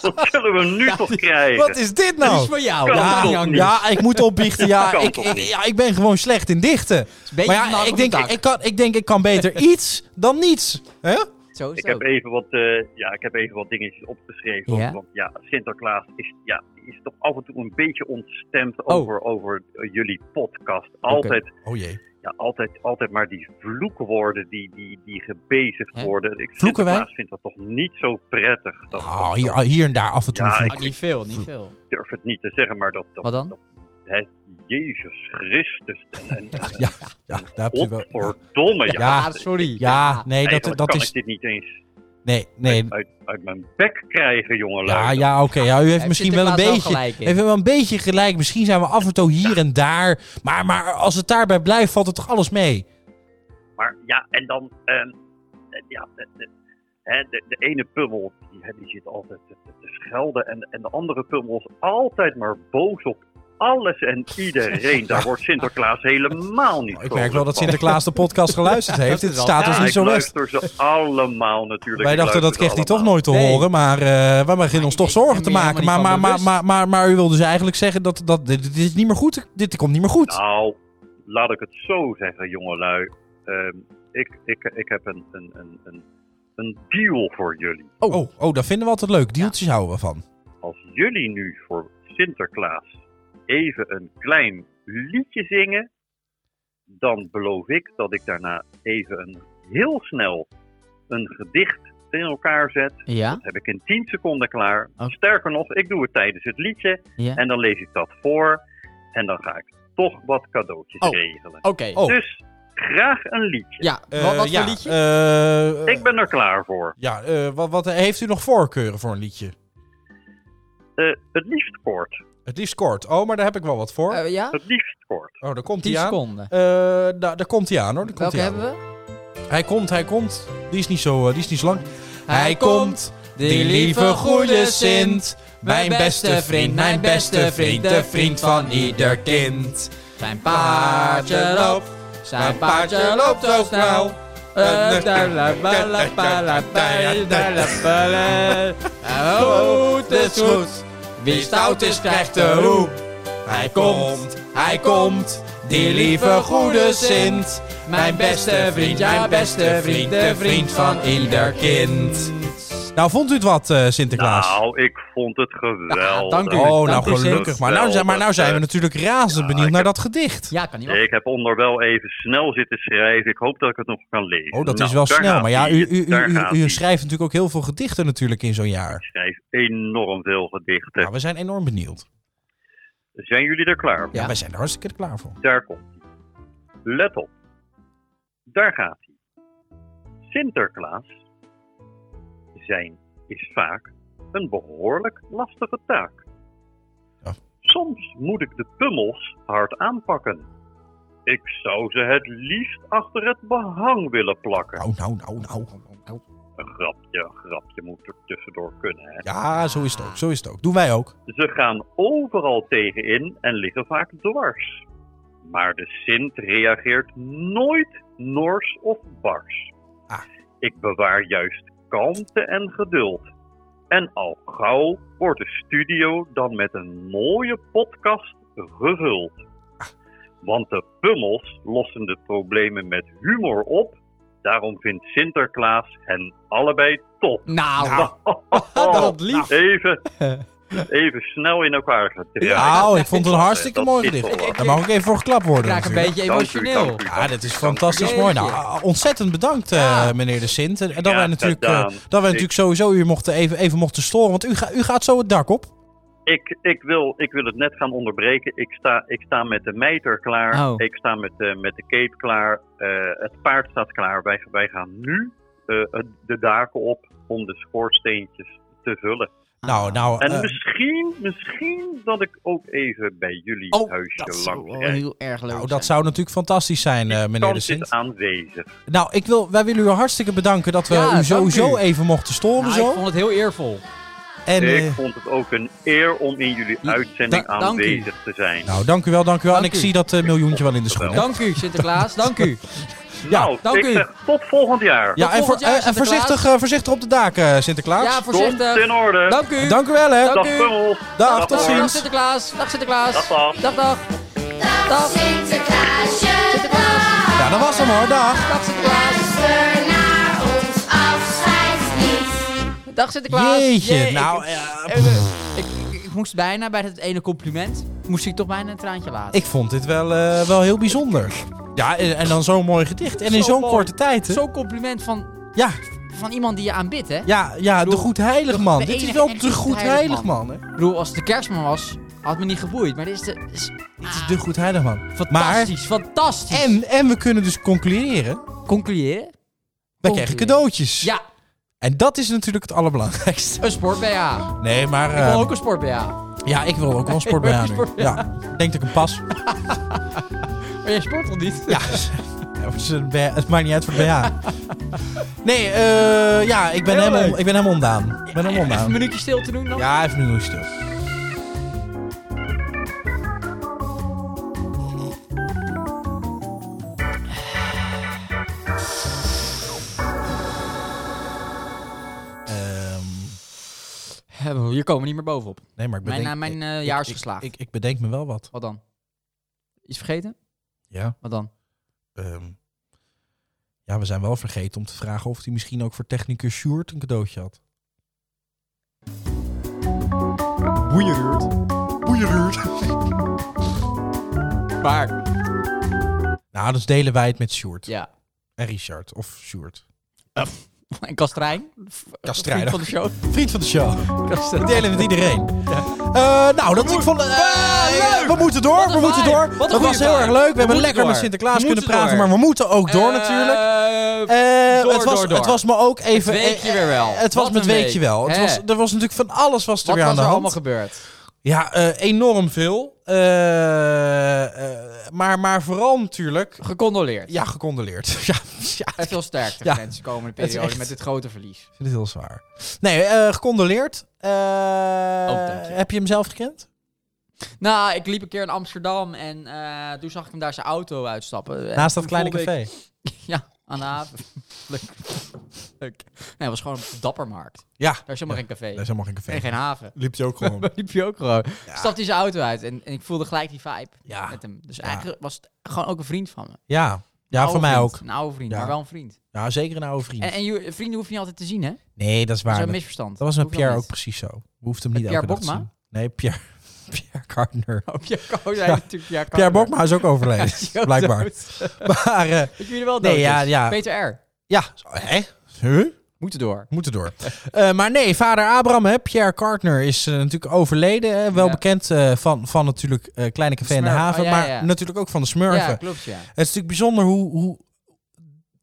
C: Dat zullen we nu toch krijgen?
A: Wat is dit
B: Dat is
A: nou?
B: voor jou.
C: Kan
B: Ja,
A: Ja,
C: toch
B: Jan.
C: niet?
A: ja, ik moet opbiechten. Ja
C: Kan
A: ik,
C: toch
A: ik,
C: niet?
A: ja, ik ben gewoon slecht in dichten.
B: Het is een beetje
A: Maar
B: van de
A: ja,
B: hand
A: ik
B: op het
A: denk,
B: dak.
A: ik, kan, ik denk, ik kan beter iets dan niets. Hè?
B: Zo is
C: Ik
B: het
C: heb
B: ook.
C: even wat, eh, ja, ik heb even wat dingetjes opgeschreven.
B: Ja?
C: Want, want ja, Sinterklaas is, ja, is toch af en toe een beetje ontstemd
B: Oh.
C: over, over eh, jullie podcast. Altijd,
A: Oh jee.
C: ja, altijd, altijd maar die vloekwoorden die, die, die gebezigd
B: Hè?
C: worden. Ik,
A: Vloeken wij?
C: Sinterklaas vindt dat toch niet zo prettig. Dat,
A: Oh,
C: dat-
A: hier, hier en daar af en toe.
C: Ja,
A: vind
C: ik-
B: Ah, niet veel, niet veel.
C: Ik durf het niet te zeggen, maar dat... dat
B: Wat dan?
C: dat- hè, Jezus Christus. En, en, en
A: ja, ja, daar heb je wel. Ja,
C: godverdomme, ja.
A: Ja,
B: Ah, sorry.
A: Ja, nee, dat,
C: Eigenlijk
A: dat
C: kan
A: is.
C: ik dit niet eens
A: Nee, nee.
C: uit, uit mijn bek krijgen, jongelui.
A: Ja, ja, oké. Ja, u heeft
B: Hij
A: misschien
B: zit er
A: wel een
B: wel
A: beetje,
B: gelijk in.
A: heeft wel een beetje gelijk. Misschien zijn we af en toe hier en daar. Maar, maar als het daarbij blijft, valt het toch alles mee?
C: Maar ja, en dan. ehm, eh, ja, de, de, hè, de, de ene pummel die, hè, die zit altijd te, te- te schelden. En, en de andere pummel is altijd maar boos op alles en iedereen. Daar wordt Sinterklaas helemaal niet
A: Ik merk
C: vrolijk
A: wel dat
C: van.
A: Sinterklaas de podcast geluisterd heeft.
B: is
A: Het
B: wel-
A: staat
C: Ja,
A: ons niet
C: ik
A: zo best.
C: luister ze allemaal natuurlijk.
A: Wij
C: Ik
A: dachten dat
C: luister
A: kreeg
C: ze
A: hij toch
C: allemaal.
A: nooit te
B: Nee.
A: horen, maar eh wij beginnen ons
B: ik-
A: toch
B: ik
A: zorgen
B: ben
A: te
B: me
A: maken. Maar,
B: helemaal
A: maar,
B: niet
A: maar,
B: van
A: maar, maar, maar u wil dus eigenlijk zeggen dat, dat dit, dit is niet meer goed. Dit komt niet meer goed.
C: Nou, laat ik het zo zeggen, jongelui. Ehm, ik, ik, ik heb een, een, een, een, een deal voor jullie.
A: Oh, oh, dat vinden we altijd leuk. Deeltjes houden we van.
C: als jullie nu voor Sinterklaas even een klein liedje zingen, dan beloof ik dat ik daarna even een, heel snel een gedicht in elkaar zet.
B: Ja?
C: heb ik in 10 seconden klaar.
B: Oh.
C: Sterker nog, ik doe het tijdens het liedje
B: Ja.
C: en dan lees ik dat voor en dan ga ik toch wat cadeautjes
B: Oh.
C: regelen.
B: Oké.
A: Oh.
C: Dus graag een liedje.
B: Ja, wa-
A: Eh,
B: wat voor
A: ja,
B: liedje?
A: eh,
C: Ik ben er klaar voor.
A: Ja, eh, wat, wat, heeft u nog voorkeuren voor een liedje?
C: Eh, het liefst kort.
A: Het liefst kort. Oh, maar daar heb ik wel wat voor.
B: Eh, ja?
C: Het liefst kort.
A: oh, daar komt
B: 10
A: hij aan.
B: seconden.
A: Eh, daar, daar komt hij aan hoor. Daar komt
B: Welke
A: hij aan.
B: hebben we?
A: Hij komt, hij komt. Die is niet zo, eh, die is niet zo lang.
B: Hij komt, die lieve goede Sint. Mijn beste vriend, mijn beste vriend, de vriend van ieder kind. Zijn paardje loopt, zijn paardje loopt zo snel. Eh, da la ba la ba la ba, da la ba la. Eh, Goed is goed. Wie stout is krijgt de roep.
A: Hij komt, hij komt, die lieve goede Sint.
B: Mijn beste vriend, ja beste vriend, de vriend van ieder kind.
A: Nou, vond u het wat, eh, Sinterklaas?
C: Nou, ik vond het geweldig.
B: Ah, dank u.
A: oh, nou
B: dat is
A: gelukkig.
C: het. eh,
A: Maar nou, zijn- maar nou zijn we natuurlijk razend
C: Ja,
A: benieuwd
C: ik
A: naar
C: heb-
A: dat gedicht.
B: Ja, kan niet wachten.
C: Ik heb onder wel even snel zitten schrijven. Ik hoop dat ik het nog kan lezen.
A: Oh, dat
C: Nou,
A: is wel
C: daar
A: snel.
C: gaat
A: Maar ja,
C: ie.
A: u, u, u,
C: Daar
A: u,
C: gaat
A: u
C: ie.
A: schrijft natuurlijk ook heel veel gedichten natuurlijk in zo'n jaar.
C: Ik schrijf enorm veel gedichten.
A: Nou, we zijn enorm benieuwd.
C: Zijn jullie er klaar voor?
A: Ja,
B: Ja.
A: wij zijn er hartstikke klaar voor.
C: Daar komt hij. Let op. Daar gaat hij. Sinterklaas zijn is vaak een behoorlijk lastige taak.
A: Ja.
C: Soms moet ik de pummels hard aanpakken. Ik zou ze het liefst achter het behang willen plakken.
A: Nou, nou, nou, nou.
C: Een grapje, een grapje moet er tussendoor kunnen. Hè?
A: Ja, zo is het ook. Zo is het ook. Doen wij ook.
C: Ze gaan overal tegenin en liggen vaak dwars. Maar de Sint reageert nooit nors of bars.
A: Ah.
C: Ik bewaar juist kalmte en geduld. En al gauw wordt de studio dan met een mooie podcast gevuld. Want de pummels lossen de problemen met humor op. Daarom vindt Sinterklaas hen allebei top.
B: Nou,
A: dat lief.
C: Nou, Even, even snel in elkaar gedraaid.
A: Nou, ik vond het een hartstikke
C: Dat
A: mooi
C: is
A: gedicht.
C: toch wel.
A: Daar mag ik even voor geklapt
B: ik
A: worden
B: raak een
A: natuurlijk.
B: beetje
C: Dank u,
B: emotioneel.
C: dank u,
A: Ja,
C: dank
A: dat
C: u,
A: is
C: dank u.
A: fantastisch mooi. Nou,
B: Jeetje.
A: ah, ontzettend bedankt, eh,
B: Ja.
A: meneer de Sint. En en dat
C: Ja,
A: wij natuurlijk, eh,
C: gedaan.
A: dat wij natuurlijk sowieso u mochten even, even mochten storen. Want u, ga- u gaat zo het dak op.
C: Ik, ik, wil, ik wil het net gaan onderbreken. Ik sta, ik sta met de mijter klaar.
B: Oh.
C: Ik sta met de, met de cape klaar. Eh, het paard staat klaar. Wij, wij gaan nu eh, het- de daken op om de schoorsteentjes te vullen.
A: Nou, nou.
C: En
A: eh,
C: misschien, misschien dat ik ook even bij jullie
B: Oh,
C: huisje
B: dat zou
C: langs
B: wel
C: rijd.
B: heel erg leuk
A: nou,
B: zijn.
A: dat zou natuurlijk fantastisch zijn, eh, meneer de
C: Kans
A: Sint.
C: is aanwezig.
A: Nou, ik wil, wij willen u hartstikke bedanken dat we
B: Ja,
A: u
B: dank
A: sowieso
B: u.
A: even mochten storen.
B: Nou,
A: zo.
B: ik vond het heel eervol.
A: En, eh,
C: ik vond het ook een eer om in jullie
B: Ja,
C: uitzending
B: da- dank u.
C: aanwezig te zijn.
A: nou, dank u wel, dank u wel. en
B: Dank
A: ik
B: u.
A: zie dat eh, miljoentje wel in de schoen.
C: Wel.
A: hè?
B: Dank u, Sinterklaas. Dank u.
C: Nou,
B: dank
C: ik
B: u.
C: zeg tot volgend jaar.
A: Ja, en,
B: volgend
A: voor,
B: jaar,
A: eh, en
B: Sinterklaas.
A: voorzichtig, eh, voorzichtig op de daken, Sinterklaas.
B: Ja,
C: Komt
B: voorzichtig.
C: in orde.
B: Dank u.
A: Dank u wel, hè.
B: Dank
C: Dag
B: u.
C: Pummels.
A: Dag, tot
B: Dag,
A: ziens.
B: dag Sinterklaas. Dag Sinterklaas.
C: Dag, dag.
B: Dag, dag.
D: Dag Sinterklaasje,
B: Sinterklaas.
A: Ja, dat was hem hoor. Dag.
B: Dag Sinterklaas.
D: luister naar ons afscheidslied.
B: Dag Sinterklaas.
A: Jeetje,
B: Jee, ik-
A: nou,
B: ik,
A: ja,
B: eh, ik, ik, ik moest bijna bij het ene compliment, moest ik toch bijna een traantje laten.
A: Ik vond dit wel, eh, wel heel bijzonder. Ja, en en dan zo'n mooi gedicht. En in
B: Zo
A: zo'n
B: mooi.
A: korte tijd. hè?
B: Zo'n compliment van,
A: Ja,
B: van iemand die je aanbidt, hè?
A: ja, ja, de
B: bedoel,
A: goed heilig man.
B: de
A: Dit is
B: enige
A: wel
B: echte
A: de goed heilig man. hè?
B: Ik bedoel, als het de kerstman was, had me niet geboeid. Maar dit is, de, is
A: Dit is de goed heilig man. Maar,
B: Ah. fantastisch, fantastisch.
A: en, en we kunnen dus concluderen.
B: concluderen?
A: We krijgen cadeautjes.
B: Ja,
A: En dat is natuurlijk het allerbelangrijkste.
B: een sport-BH.
A: Nee, maar...
B: Ik wil
A: eh,
B: ook een sport-BH.
A: Ja, ik wil ook wel een sport
B: Ik wil ook
A: nu.
B: een sport-
A: Ja, ik denk dat ik een pas.
B: Maar jij sport toch niet?
A: Ja, Ja, het, is een BH het maakt niet uit voor de BH. Nee, eh, ja, ik ben,
B: Heel
A: helemaal,
B: leuk.
A: ik ben helemaal ondaan. Ik ben helemaal
B: Even een
A: ondaan.
B: minuutje stil te doen dan?
A: Ja, even nu Ehm, stil. Ehm,
B: Eh, Hier komen we niet meer bovenop.
A: Nee, maar ik
B: Mijn,
A: bedenk...
B: eh, mijn, eh,
A: ik-
B: jaar is
A: ik- ik-
B: geslaagd.
A: Ik, ik, bedenk me wel wat.
B: Wat dan? Iets vergeten?
A: Ja.
B: Wat dan?
A: ehm, ja, we zijn wel vergeten om te vragen of hij misschien ook voor technicus Sjoerd een cadeautje had. Boeieruurt. Boeieruurt.
B: Waar?
A: Nou, dus delen wij het met Sjoerd.
B: Ja.
A: En Richard. Of Sjoerd.
B: En Kastrijn? V-
A: Kastrijn.
B: vriend van de show.
A: Vriend van de show. We
B: Kastrijn.
A: delen met iedereen. Eh, nou, dat ik vond... eh,
B: Ah, leuk.
A: We moeten door,
B: Wat een
A: we moeten
B: vibe.
A: door.
B: Wat een
A: Dat was
B: goede
A: heel
B: vibe.
A: erg leuk. We,
B: We
A: hebben
B: moeten
A: lekker met
B: door.
A: Sinterklaas
B: We
A: kunnen
B: moeten
A: praten,
B: door.
A: maar we moeten ook door natuurlijk.
B: Eh,
A: Eh,
B: Door,
A: het, was,
B: door, door.
A: het was me ook even. eh,
B: Het weekje weer wel.
A: Het was
B: Wat
A: met
B: een
A: weekje
B: week.
A: wel. Het
B: Hè?
A: was, er was natuurlijk van alles was er
B: wat
A: weer aan
B: was
A: de
B: er
A: hand.
B: allemaal gebeurd?
A: ja, eh, enorm veel. Eh, eh, maar, maar vooral natuurlijk.
B: Gecondoleerd.
A: Ja, gecondoleerd. ja, ja,
B: En veel sterkte
A: Ja.
B: voor mensen de komende
A: Het is
B: periode
A: echt-
B: met dit grote verlies.
A: ik vind het heel zwaar. Nee, eh, gecondoleerd. Eh,
B: Oh, dank je.
A: heb je hem zelf gekend?
B: Nou, ik liep een keer in Amsterdam en eh, toen zag ik hem daar zijn auto uitstappen. En
A: Naast dat
B: toen
A: kleine
B: voelde ik-
A: café.
B: Ja. aan de haven. Leuk. Leuk. Nee, het was gewoon een dappermarkt.
A: Ja,
B: Daar is helemaal geen café.
A: daar is helemaal geen café.
B: en geen haven.
A: Liep hij ook gewoon.
B: Liep je ook gewoon. Stapte hij zijn auto uit en, en ik voelde gelijk die vibe
A: ja,
B: met hem. Dus eigenlijk was het gewoon ook een vriend van me.
A: ja. ja voor
B: Oude
A: mij
B: vriend.
A: ook.
B: Een oude vriend,
A: Ja.
B: maar wel een vriend.
A: Ja, zeker een oude vriend.
B: En, en je vrienden hoef je niet altijd te zien, hè?
A: nee, dat is
B: Dat is
A: waar.
B: een
A: Dat,
B: misverstand.
A: dat was met
B: Hoeft
A: Pierre ook
B: niet.
A: precies zo. We hoefden hem
B: Met
A: niet elke
B: Pierre
A: dag te
B: Bokma?
A: zien. Nee, Pierre, Pierre Gardner.
B: Oh, Pierre Bokma.
A: Ja.
B: natuurlijk Pierre,
A: Pierre
B: Carter.
A: Bokma is ook overleden,
B: Hij is ook
A: blijkbaar.
B: dood.
A: Maar eh,
B: Dat jullie wel dood
A: Nee,
B: nee,
A: ja, ja.
B: Peter R.
A: ja, zo, hè? Huh?
B: Moeten door.
A: Moeten door. Eh, maar nee, vader Abraham, hè, Pierre Kartner, is eh, natuurlijk overleden. Hè, wel
B: Ja.
A: bekend eh, van, van natuurlijk eh, Kleine Café in de
B: Smurf.
A: Haven,
B: Oh, ja,
A: maar
B: ja.
A: natuurlijk ook van de Smurfen.
B: Ja, klopt, ja.
A: Het is natuurlijk bijzonder hoe, hoe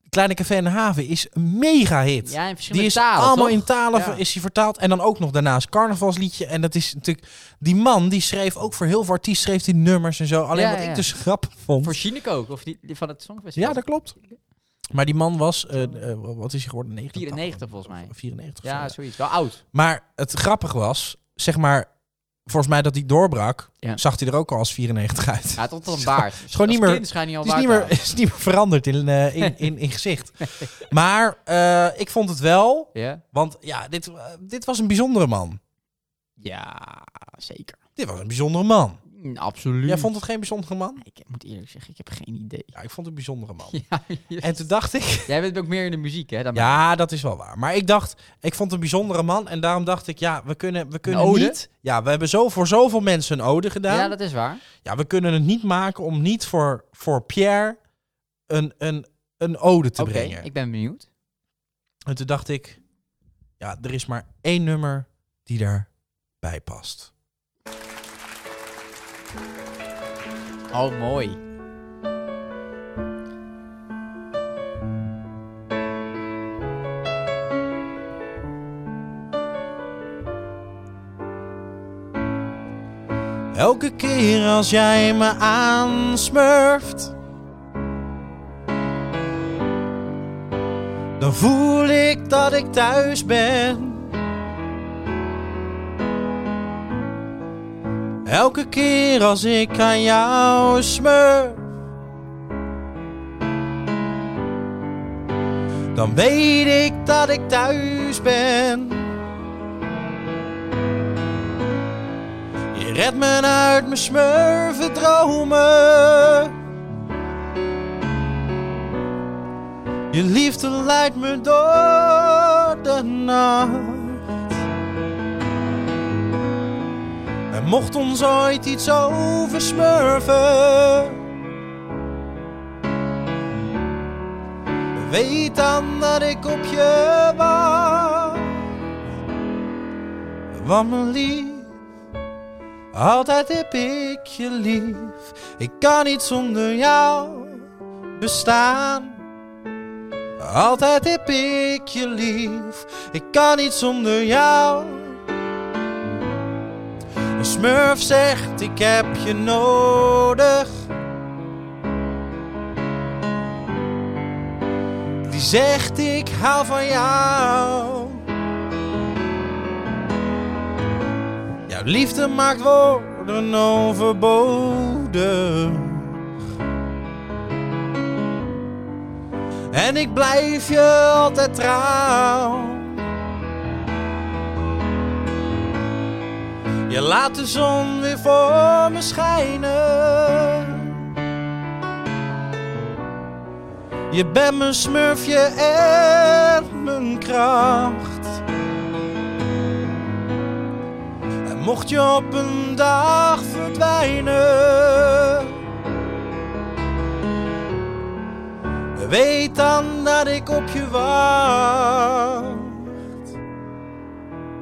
A: Kleine Café in de Haven is een mega hit.
B: Ja, in
A: Die
B: verschillende
A: is
B: talen,
A: allemaal
B: toch?
A: in talen
B: Ja.
A: is hij vertaald. En dan ook nog daarnaast carnavalsliedje. En dat is natuurlijk... Die man die schreef ook voor heel veel artiesten schreef die nummers en zo. Alleen
B: Ja,
A: wat
B: ja.
A: ik dus grappig vond...
B: Voor Chineco ook, of die, die van het Songfestival.
A: Ja, dat klopt. Maar die man was, eh, eh, wat is hij geworden? 89,
B: 94 volgens mij.
A: Of 94.
B: Ja,
A: Ja,
B: zoiets. Wel oud.
A: maar het grappig was, zeg maar, volgens mij dat hij doorbrak,
B: Ja.
A: zag hij er ook al als 94 uit.
B: Ja, tot een baard. Is
A: gewoon niet meer-
B: Kind schijnt niet al
A: Het is
B: baard
A: niet,
B: te
A: meer,
B: hebben.
A: is niet meer veranderd in, eh, in, in, in gezicht. Maar eh, ik vond het wel,
B: Ja?
A: want ja, dit, eh, dit was een bijzondere man.
B: Ja, zeker.
A: Dit was een bijzondere man.
B: Mm, Absoluut.
A: Jij vond het geen bijzondere man?
B: Ik moet eerlijk zeggen, ik heb geen idee.
A: Ja, ik vond het een bijzondere man.
B: Ja, je-
A: En toen dacht ik,
B: Jij bent ook meer in de muziek, hè? Dan
A: Ja, dat is wel waar. Maar ik dacht, ik vond het een bijzondere man. En daarom dacht ik, ja, we kunnen, we kunnen
B: ode?
A: niet... Ja, we hebben zo, voor zoveel mensen een ode gedaan.
B: ja,
A: Ja,
B: dat is waar.
A: we kunnen het niet maken om niet voor, voor Pierre een, een, een ode te
B: Oké,
A: brengen.
B: ik ben benieuwd.
A: En toen dacht ik, ja, er is maar één nummer die daarbij past.
B: Oh, mooi.
A: Elke keer als jij me aansmurft Dan voel ik dat ik thuis ben Elke keer als ik aan jou smurf Dan weet ik dat ik thuis ben Je redt me uit mijn smurven dromen. Je liefde leidt me door de nacht. En mocht ons ooit iets oversmurven. Weet dan dat ik op je wacht. Want mijn lief. Altijd heb ik je lief. Ik kan niet zonder jou bestaan. Altijd heb ik je lief. Ik kan niet zonder jou. Een smurf zegt ik heb je nodig. Die zegt ik hou van jou. Jouw liefde maakt woorden overbodig. En ik blijf je altijd trouw. Je laat de zon weer voor me schijnen. Je bent mijn smurfje en mijn kracht. En mocht je op een dag verdwijnen, weet dan dat ik op je wacht.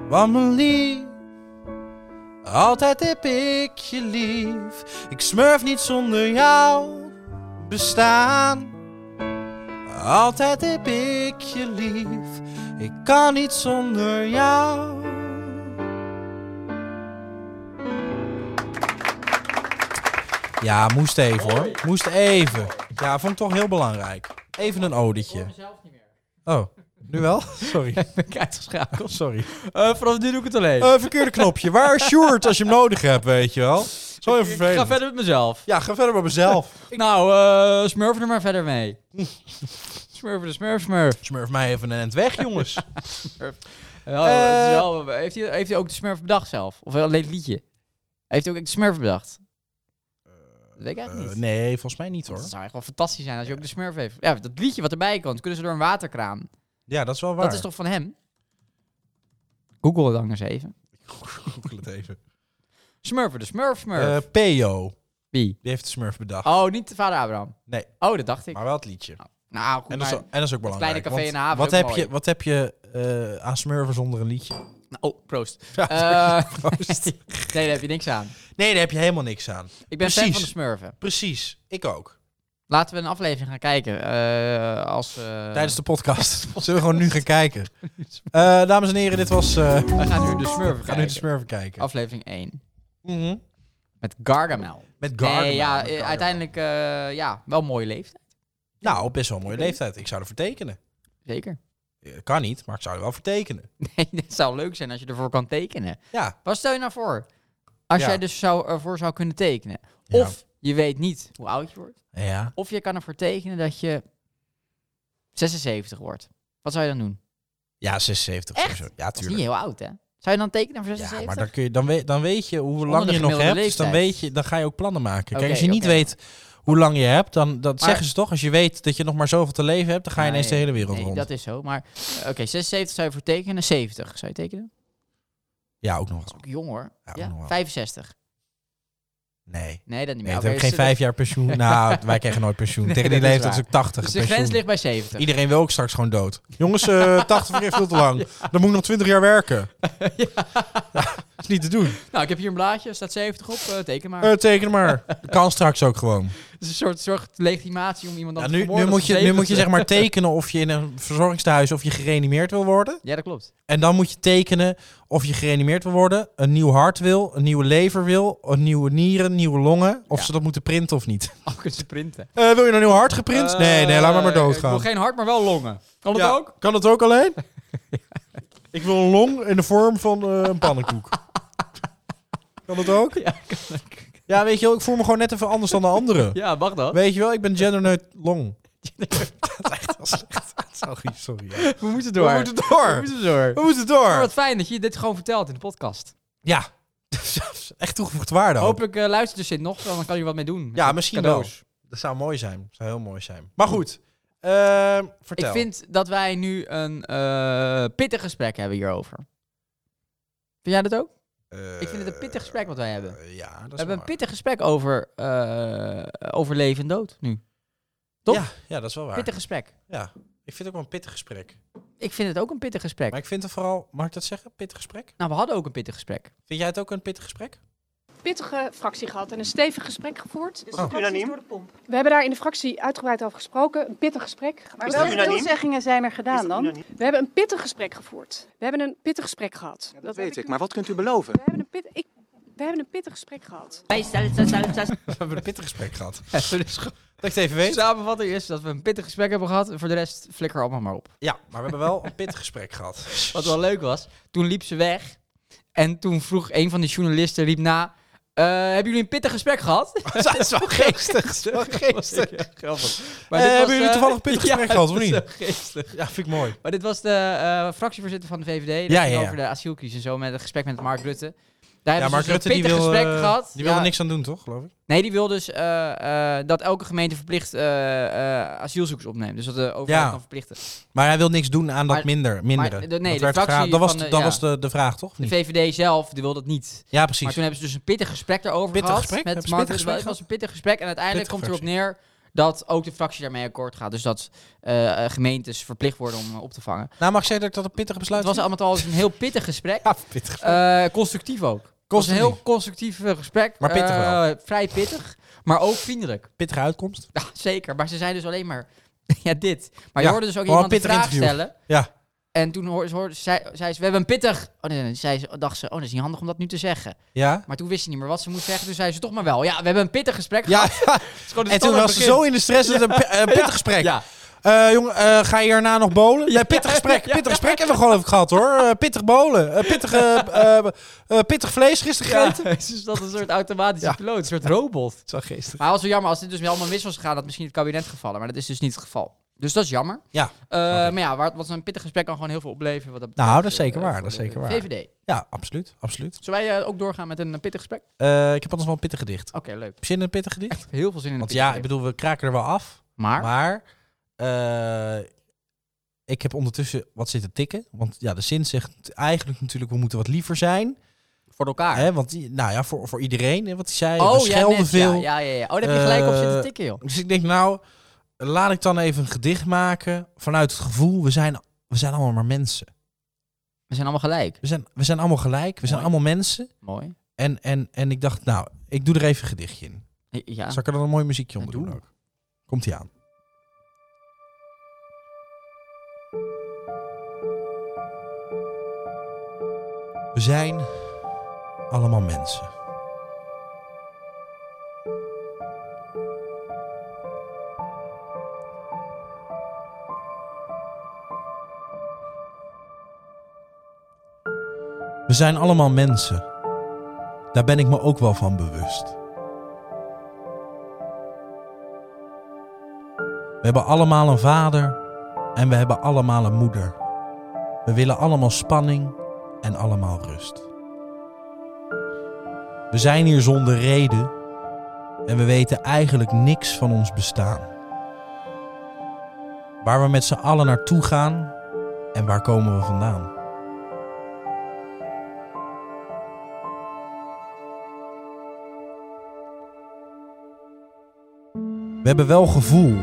A: Want mijn lief, altijd heb ik je lief. Ik smurf niet zonder jou bestaan. Altijd heb ik je lief. Ik kan niet zonder jou. Ja, moest even hoor. Moest even. Ja, vond ik toch heel belangrijk. Even een odetje.
B: Zelf niet meer.
A: Oh, nu wel? Sorry.
B: Ben ik uitgeschakeld?
A: Sorry.
B: Eh, vanaf nu doe ik het alleen.
A: Eh, verkeerde knopje. Waar is Sjoerd als je hem nodig hebt, weet je wel? Zo even
B: ik ga
A: vervelend.
B: verder met mezelf.
A: Ja, ga verder met mezelf.
B: Nou, eh smurf er maar verder mee. Smurf de Smurf Smurf.
A: Smurf mij even een end weg, jongens.
B: Wel, oh, het is
A: Eh.
B: wel- heeft, hij, heeft hij ook de Smurf bedacht zelf? Of alleen het liedje? Heeft hij ook de Smurf bedacht? Dat weet ik eigenlijk
A: Eh,
B: niet.
A: nee, volgens mij niet hoor.
B: Dat zou echt wel fantastisch zijn als je ook de Smurf heeft. Ja, dat liedje wat erbij komt, kunnen ze door een waterkraan.
A: Ja, dat is wel waar.
B: Dat is toch van hem? Google het dan eens even.
A: Google het even.
B: Smurfer, de Smurf Smurf.
A: Eh Peo,
B: Wie?
A: die heeft de Smurf bedacht.
B: Oh, niet vader Abraham.
A: Nee,
B: Oh, dat dacht ik.
A: maar wel het liedje.
B: nou, goed,
A: En dat, is,
B: maar-
A: en dat is ook belangrijk.
B: kleine café
A: want
B: in de haven
A: Wat
B: is
A: heb
B: ook
A: je,
B: mooi.
A: wat heb je eh, aan smurven zonder een liedje?
B: Oh, proost.
A: Ja,
B: Eh,
A: proost.
B: nee, daar heb je niks aan.
A: Nee, daar heb je helemaal niks aan.
B: Ik ben fan
A: Precies.
B: van de Smurfen.
A: Precies, ik ook.
B: Laten we een aflevering gaan kijken. eh, als, eh,
A: Tijdens de podcast. Zullen we gewoon nu gaan kijken. Eh, dames en heren, dit was... eh
B: We gaan nu de Smurfen
A: gaan nu de
B: kijken.
A: smurven kijken.
B: Aflevering 1.
A: Mhm.
B: Met Gargamel.
A: Met Gargamel.
B: Nee, ja,
A: met
B: eh,
A: Gargamel.
B: uiteindelijk eh, ja, wel een mooie leeftijd.
A: Nou, best wel een mooie leeftijd. Ik zou er vertekenen.
B: Zeker.
A: Kan niet, maar ik zou er wel vertekenen.
B: Nee, dat zou leuk zijn als je ervoor kan tekenen.
A: Ja,
B: Wat stel je nou voor? Als
A: Ja.
B: jij dus zou, ervoor zou kunnen tekenen.
A: Ja.
B: Of je weet niet hoe oud je wordt.
A: ja.
B: Of je kan ervoor tekenen dat je 76 wordt. Wat zou je dan doen?
A: ja 76
B: Echt?
A: sowieso. Ja,
B: Dat is niet
A: tuurlijk.
B: heel oud, hè? Zou je dan tekenen voor
A: Ja,
B: 76?
A: maar dan, kun je, dan, weet, dan weet je hoe
B: de
A: lang je nog hebt.
B: gemiddelde
A: Dus dan,
B: leeftijd.
A: weet je, dan ga je ook plannen maken. Kijk,
B: Oké,
A: als je niet
B: oké.
A: weet hoe lang je hebt, dan dat
B: Maar-
A: zeggen ze toch. Als je weet dat je nog maar zoveel te leven hebt, dan ga je ineens de hele wereld
B: nee,
A: rond.
B: dat is zo. Maar eh, oké, 76 zou je voor tekenen. 70 zou je tekenen?
A: Ja, ook nog
B: Dat is
A: wel.
B: ook jong, hoor.
A: Ja,
B: Ja,
A: ook nog wel.
B: 65.
A: Nee.
B: Nee,
A: Nee,
B: dat niet meer.
A: dan
B: Oké,
A: heb ik geen
B: dus de-
A: vijf jaar pensioen. nou, wij krijgen nooit pensioen.
B: Nee,
A: Tegen die
B: dat is
A: leeftijd is
B: waar.
A: ook 80
B: Dus de
A: pensioen.
B: grens ligt bij 70.
A: Iedereen wil ook straks gewoon dood. Jongens, eh 80 is veel te lang. Dan moet ik nog 20 jaar werken. Dat is niet te doen.
B: Nou, ik heb hier een blaadje. staat 70 op. eh, teken maar.
A: Eh, teken maar. Kan straks ook gewoon.
B: Het is een soort, soort legitimatie om iemand dan
A: Ja,
B: te
A: nu, nu,
B: vermoorden
A: moet
B: als
A: je, nu moet je
B: 70.
A: zeg maar tekenen of je in een verzorgingstehuis of je gereanimeerd wil worden.
B: Ja, dat klopt.
A: En dan moet je tekenen of je gereanimeerd wil worden, een nieuw hart wil, een nieuwe lever wil, een nieuwe nieren, nieuwe longen. Of
B: Ja.
A: ze dat moeten printen of niet.
B: Oh, kunnen ze printen.
A: Eh, wil je een nieuw hart geprint? nee, nee, laat maar maar
B: Eh, Ik
A: doodgaan.
B: wil geen hart, maar wel longen. Kan dat
A: Ja,
B: ook?
A: Kan dat ook alleen? Ik wil een long in de vorm van eh, een pannenkoek. kan dat ook?
B: Ja,
A: Ja, weet je wel, ik voel me gewoon net even anders dan de anderen.
B: Ja, mag dat?
A: Weet je wel, ik ben genderneukt long. dat is echt wel slecht. Dat is wel goed, sorry. ja.
B: We moeten door.
A: We moeten door.
B: We moeten door.
A: We moeten
B: Maar
A: door.
B: wat fijn dat je dit gewoon vertelt in de podcast.
A: Ja. Echt toegevoegd waarde. ook.
B: Hopelijk eh, luistert dus dit nog, dan kan je wat mee doen.
A: Ja, misschien
B: Cadeaus.
A: wel. Dat zou mooi zijn. Dat zou heel mooi zijn. Maar goed. ehm, vertel.
B: Ik vind dat wij nu een eh, pittig gesprek hebben hierover. Vind jij dat ook?
A: Eh,
B: ik vind het een pittig gesprek wat wij hebben.
A: eh, ja, dat is
B: We hebben
A: wel
B: een pittig gesprek over, eh, over leven en dood nu.
A: waar.
B: toch?
A: Ja, ja, dat is wel waar.
B: Pittig gesprek.
A: Ja. Ik vind het ook wel een pittig gesprek.
B: Ik vind het ook een pittig gesprek.
A: Maar ik vind het vooral... Mag ik dat zeggen? Pittig gesprek?
B: Nou, we hadden ook een pittig gesprek.
A: Vind jij het ook een pittig gesprek?
E: pittige fractie gehad en een stevig gesprek gevoerd.
F: Unaniem?
E: We hebben daar in de fractie uitgebreid over gesproken, een pittig gesprek. Dus
F: Maar
E: Is
F: welke
E: dat-
F: unaniem?
G: toezeggingen zijn er gedaan dan?
E: We hebben een pittig gesprek gevoerd. We hebben een pittig gesprek gehad. dat heb
F: weet ik, maar wat kunt u beloven?
E: We hebben een pittig, ik, we hebben een pittig gesprek gehad.
A: We hebben een pittig gesprek gehad.
B: dus
A: Dat ik het even
B: De
A: weet.
B: samenvatting is dat we een pittig gesprek hebben gehad. Voor de rest flikker allemaal maar op.
A: Ja, maar we hebben wel een pittig gesprek gehad.
B: Wat wel leuk was, toen liep ze weg. En toen vroeg een van de journalisten riep na... "Eh, hebben jullie een pittig gesprek gehad?
A: Dat is wel geestig. Dat is wel geestig.
B: Ja,
A: Eh,
B: grappig. dit was,
A: hebben jullie
B: eh,
A: toevallig een pittig
B: ja,
A: gesprek gehad, of
B: dat is
A: niet?
B: wel geestig.
A: Ja, vind ik mooi.
B: Maar dit was de eh, fractievoorzitter van de VVD. Dat
A: Ja,
B: ging
A: ja, ja.
B: over de asielcrisis en zo. Met een gesprek met Mark Rutte. Daar
A: Ja,
B: hebben
A: Mark
B: ze dus
A: Rutte
B: een
A: die
B: pittig
A: wil,
B: gesprek
A: eh,
B: gehad.
A: die wil er
B: Ja.
A: niks aan doen, toch? Geloof ik.
B: Nee, die wil dus eh, eh, dat elke gemeente verplicht eh, eh, asielzoekers opneemt. Dus dat de overheid
A: Ja.
B: kan verplichten.
A: Maar hij wil niks doen aan dat
B: Maar-
A: minder, minderen.
B: maar de- nee,
A: dat
B: de
A: werd
B: fractie
A: gevraagd. dat was,
B: van de-
A: dat
B: ja.
A: was de, de vraag, toch? Of
B: De
A: niet?
B: VVD zelf die wil dat niet.
A: Ja,
B: Maar
A: precies.
B: toen hebben ze dus een pittig gesprek daarover
A: Pittig
B: gehad.
A: gesprek? Hebben
B: Met
A: ze
B: Mark
A: pittig
B: Rutte. Het
A: gesprek
B: was een pittig gesprek. En uiteindelijk
A: Pittig
B: komt erop neer dat ook de fractie daarmee akkoord gaat. Dus dat eh, eh, gemeentes verplicht worden om eh, op te vangen.
A: Nou, mag ik zeggen dat ik dat een pittig besluit
B: Het was allemaal trouwens een heel pittig gesprek.
A: Ja, pittig.
B: Eh, constructief ook. Het was een
A: Constructief.
B: heel constructief eh, gesprek.
A: Maar pittig wel.
B: Eh, vrij pittig. Maar ook vriendelijk.
A: Pittige uitkomst.
B: Ja, zeker. Maar ze zijn dus alleen maar... ja, dit. Maar je
A: Ja,
B: hoorde dus ook
A: gewoon
B: iemand
A: een
B: een
A: pittig
B: vraag
A: interview.
B: stellen.
A: Ja.
B: En toen hoor- hoorde, zei, zei ze, we hebben een pittig... Oh, nee, nee, zei ze, dacht ze, oh, dat is niet handig om dat nu te zeggen.
A: Ja.
B: Maar toen wist ze niet meer wat ze moest zeggen. Toen zei ze toch maar wel. Ja, we hebben een pittig gesprek
A: Ja.
B: gehad. Het is gewoon de
A: En toen
B: standaard
A: was ze
B: begin.
A: zo in de stress dat het een pi- eh, pittig gesprek.
B: Ja.
A: Eh, jongen, eh, ga je hierna nog bolen? Nee, pittig gesprek. Pittig gesprek hebben we gewoon even gehad, hoor. Eh, pittig bolen. Eh, pittig, eh, eh, eh, pittig vlees gisteren
B: Ja,
A: gegeten.
B: dus dat is een soort automatische
A: Ja.
B: piloot. Een soort robot.
A: Het is wel geestig.
B: Maar het was wel jammer, als dit dus helemaal mis was gegaan, had misschien het kabinet gevallen. Maar dat is dus niet het geval. Dus dat is jammer.
A: Ja,
B: Eh,
A: snap ik.
B: maar ja, wat, wat zo'n pittig gesprek kan gewoon heel veel opleveren. Wat dat
A: Nou,
B: betreft,
A: dat is zeker
B: eh,
A: waar,
B: voor
A: dat is
B: de
A: zeker waar.
B: VVD.
A: ja absoluut. absoluut.
B: Zullen wij eh, ook doorgaan met een eh, pittig gesprek? Oké,
A: Eh, ik heb anders wel een pittig gedicht. Heb
B: leuk.
A: je zin in een pittig gedicht?
B: Heel veel zin in een
A: Want
B: pittig
A: ja, ik
B: gesprek.
A: bedoel, we kraken er wel af.
B: Maar,
A: Maar eh, ik heb ondertussen wat zitten tikken. Want ja, de zin zegt eigenlijk natuurlijk, we moeten wat liever zijn.
B: voor elkaar.
A: Hè, want die- nou ja, voor, voor iedereen, hè, wat hij zei.
B: oh,
A: we schelden
B: net,
A: veel.
B: Ja, ja, ja, ja. Oh, daar heb je gelijk op zitten
A: Eh,
B: tikken, joh.
A: Dus ik denk, nou, laat ik dan even een gedicht maken vanuit het gevoel, we zijn, we zijn allemaal maar mensen.
B: We zijn allemaal gelijk.
A: We zijn, we zijn allemaal gelijk, we zijn
B: Mooi.
A: allemaal mensen.
B: Mooi.
A: En, en, en ik dacht, nou, ik doe er even een gedichtje in.
B: Ja.
A: Zal ik er dan een mooi muziekje onder
B: Ja, doe.
A: doen ook? Komt ie aan. We zijn allemaal mensen. We zijn allemaal mensen. Daar ben ik me ook wel van bewust. We hebben allemaal een vader en we hebben allemaal een moeder. We willen allemaal spanning en allemaal rust. We zijn hier zonder reden en we weten eigenlijk niks van ons bestaan. Waar we met z'n allen naartoe gaan en waar komen we vandaan? We hebben wel gevoel.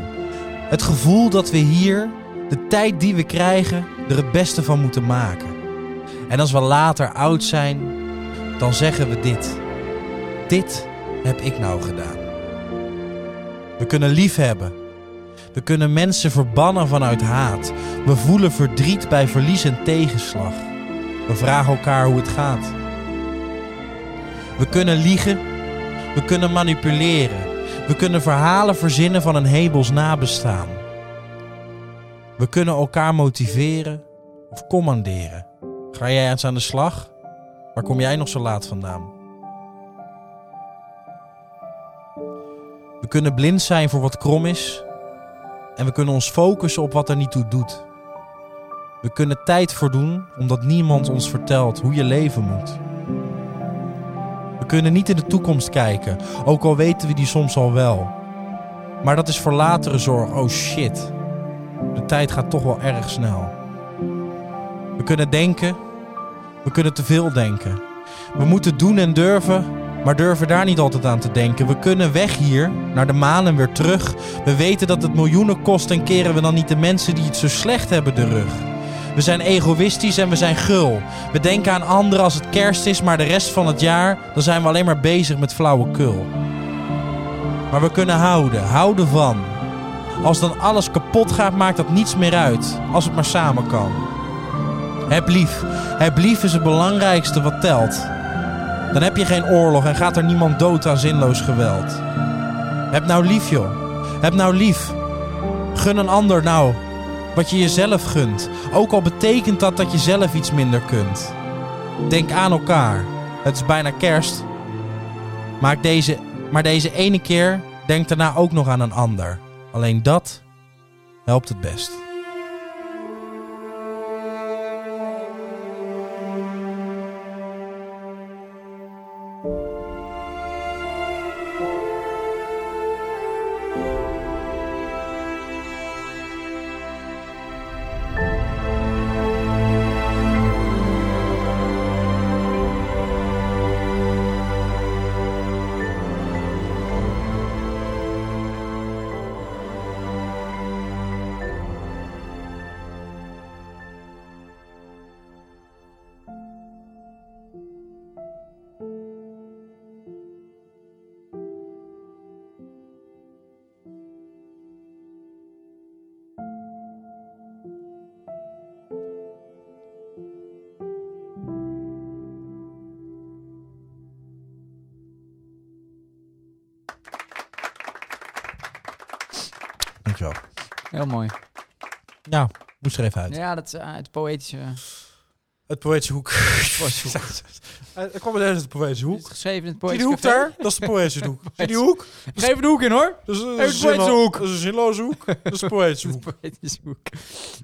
A: Het gevoel dat we hier, de tijd die we krijgen, er het beste van moeten maken. En als we later oud zijn, dan zeggen we dit. Dit heb ik nou gedaan. We kunnen liefhebben. We kunnen mensen verbannen vanuit haat. We voelen verdriet bij verlies en tegenslag. We vragen elkaar hoe het gaat. We kunnen liegen. We kunnen manipuleren. We kunnen verhalen verzinnen van een hebels nabestaan. We kunnen elkaar motiveren of commanderen. Ga jij eens aan de slag? Waar kom jij nog zo laat vandaan? We kunnen blind zijn voor wat krom is. En we kunnen ons focussen op wat er niet toe doet. We kunnen tijd verdoen omdat niemand ons vertelt hoe je leven moet. We kunnen niet in de toekomst kijken, ook al weten we die soms al wel. Maar dat is voor latere zorg. Oh shit. De tijd gaat toch wel erg snel. We kunnen denken. We kunnen te veel denken. We moeten doen en durven, maar durven daar niet altijd aan te denken. We kunnen weg hier, naar de maan en weer terug. We weten dat het miljoenen kost en keren we dan niet de mensen die het zo slecht hebben de rug. We zijn egoïstisch en we zijn gul. We denken aan anderen als het kerst is, maar de rest van het jaar dan zijn we alleen maar bezig met flauwekul. Maar we kunnen houden, houden van. Als dan alles kapot gaat, maakt dat niets meer uit. Als het maar samen kan. Heb lief. Heb lief is het belangrijkste wat telt. Dan heb je geen oorlog en gaat er niemand dood aan zinloos geweld. Heb nou lief, joh. Heb nou lief. Gun een ander nou wat je jezelf gunt. Ook al betekent dat dat je zelf iets minder kunt. Denk aan elkaar. Het is bijna kerst. Maak deze, maar deze ene keer denk daarna ook nog aan een ander. Alleen dat helpt het best. Dankjewel.
B: Heel mooi.
A: Ja, moest er even uit.
B: Ja, dat is eh, het poëtische...
A: Het poëtische hoek. Eh, Er kwam een uit de Poëtische
B: Het is
A: Hoek.
B: geschreven in
A: Zie
B: het poëtische
A: die hoek
B: café.
A: daar? Dat is de Poëtische Hoek. Zie die hoek?
B: Geef een hoek in hoor.
A: Dat is, dat is
B: Uit de
A: een zinlo-
B: Poëtische Hoek.
A: Dat is een zinloze hoek. Dat is de Poëtische Hoek.
B: Poëtische hoek.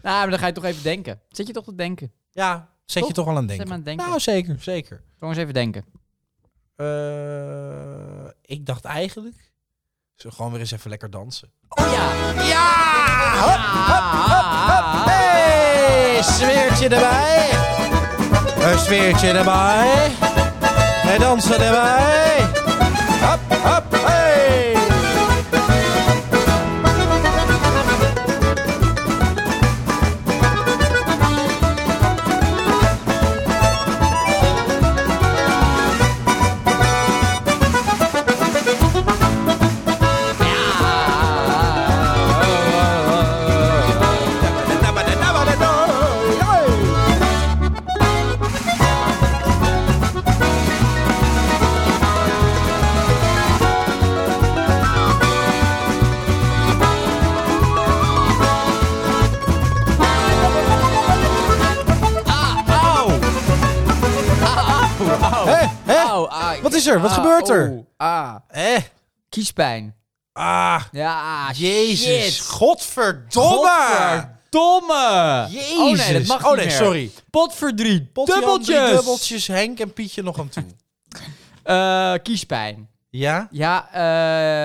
B: Nou, maar dan ga je toch even denken. Zit je toch te denken?
A: Ja, zet je
B: Toch?
A: toch wel aan het denken.
B: Zet maar aan het denken.
A: Nou, zeker, zeker.
B: Gewoon eens even denken.
A: Eh, ik dacht eigenlijk... Zo gewoon weer eens even lekker dansen.
B: Oh ja!
A: Ja! Hup, hup, hup, hup. Hey! Sfeertje erbij. Een sfeertje erbij. En dansen erbij. Hup, hup, hey! Hé, hé,
B: Au, ai.
A: Oh, Wat is er?
B: Ah,
A: Wat gebeurt er?
B: Au, ah.
A: hé.
B: Kiespijn.
A: Ah,
B: Ja,
A: jezus.
B: shit.
A: Godverdomme.
B: Godverdomme.
A: Jezus.
B: Oh nee, dat mag
A: Oh
B: niet
A: nee,
B: meer.
A: sorry.
B: Potverdriet.
A: Potje
B: dubbeltjes.
A: Andrie, dubbeltjes, Henk en Pietje nog aan toe.
B: Eh, kiespijn.
A: Ja?
B: Ja,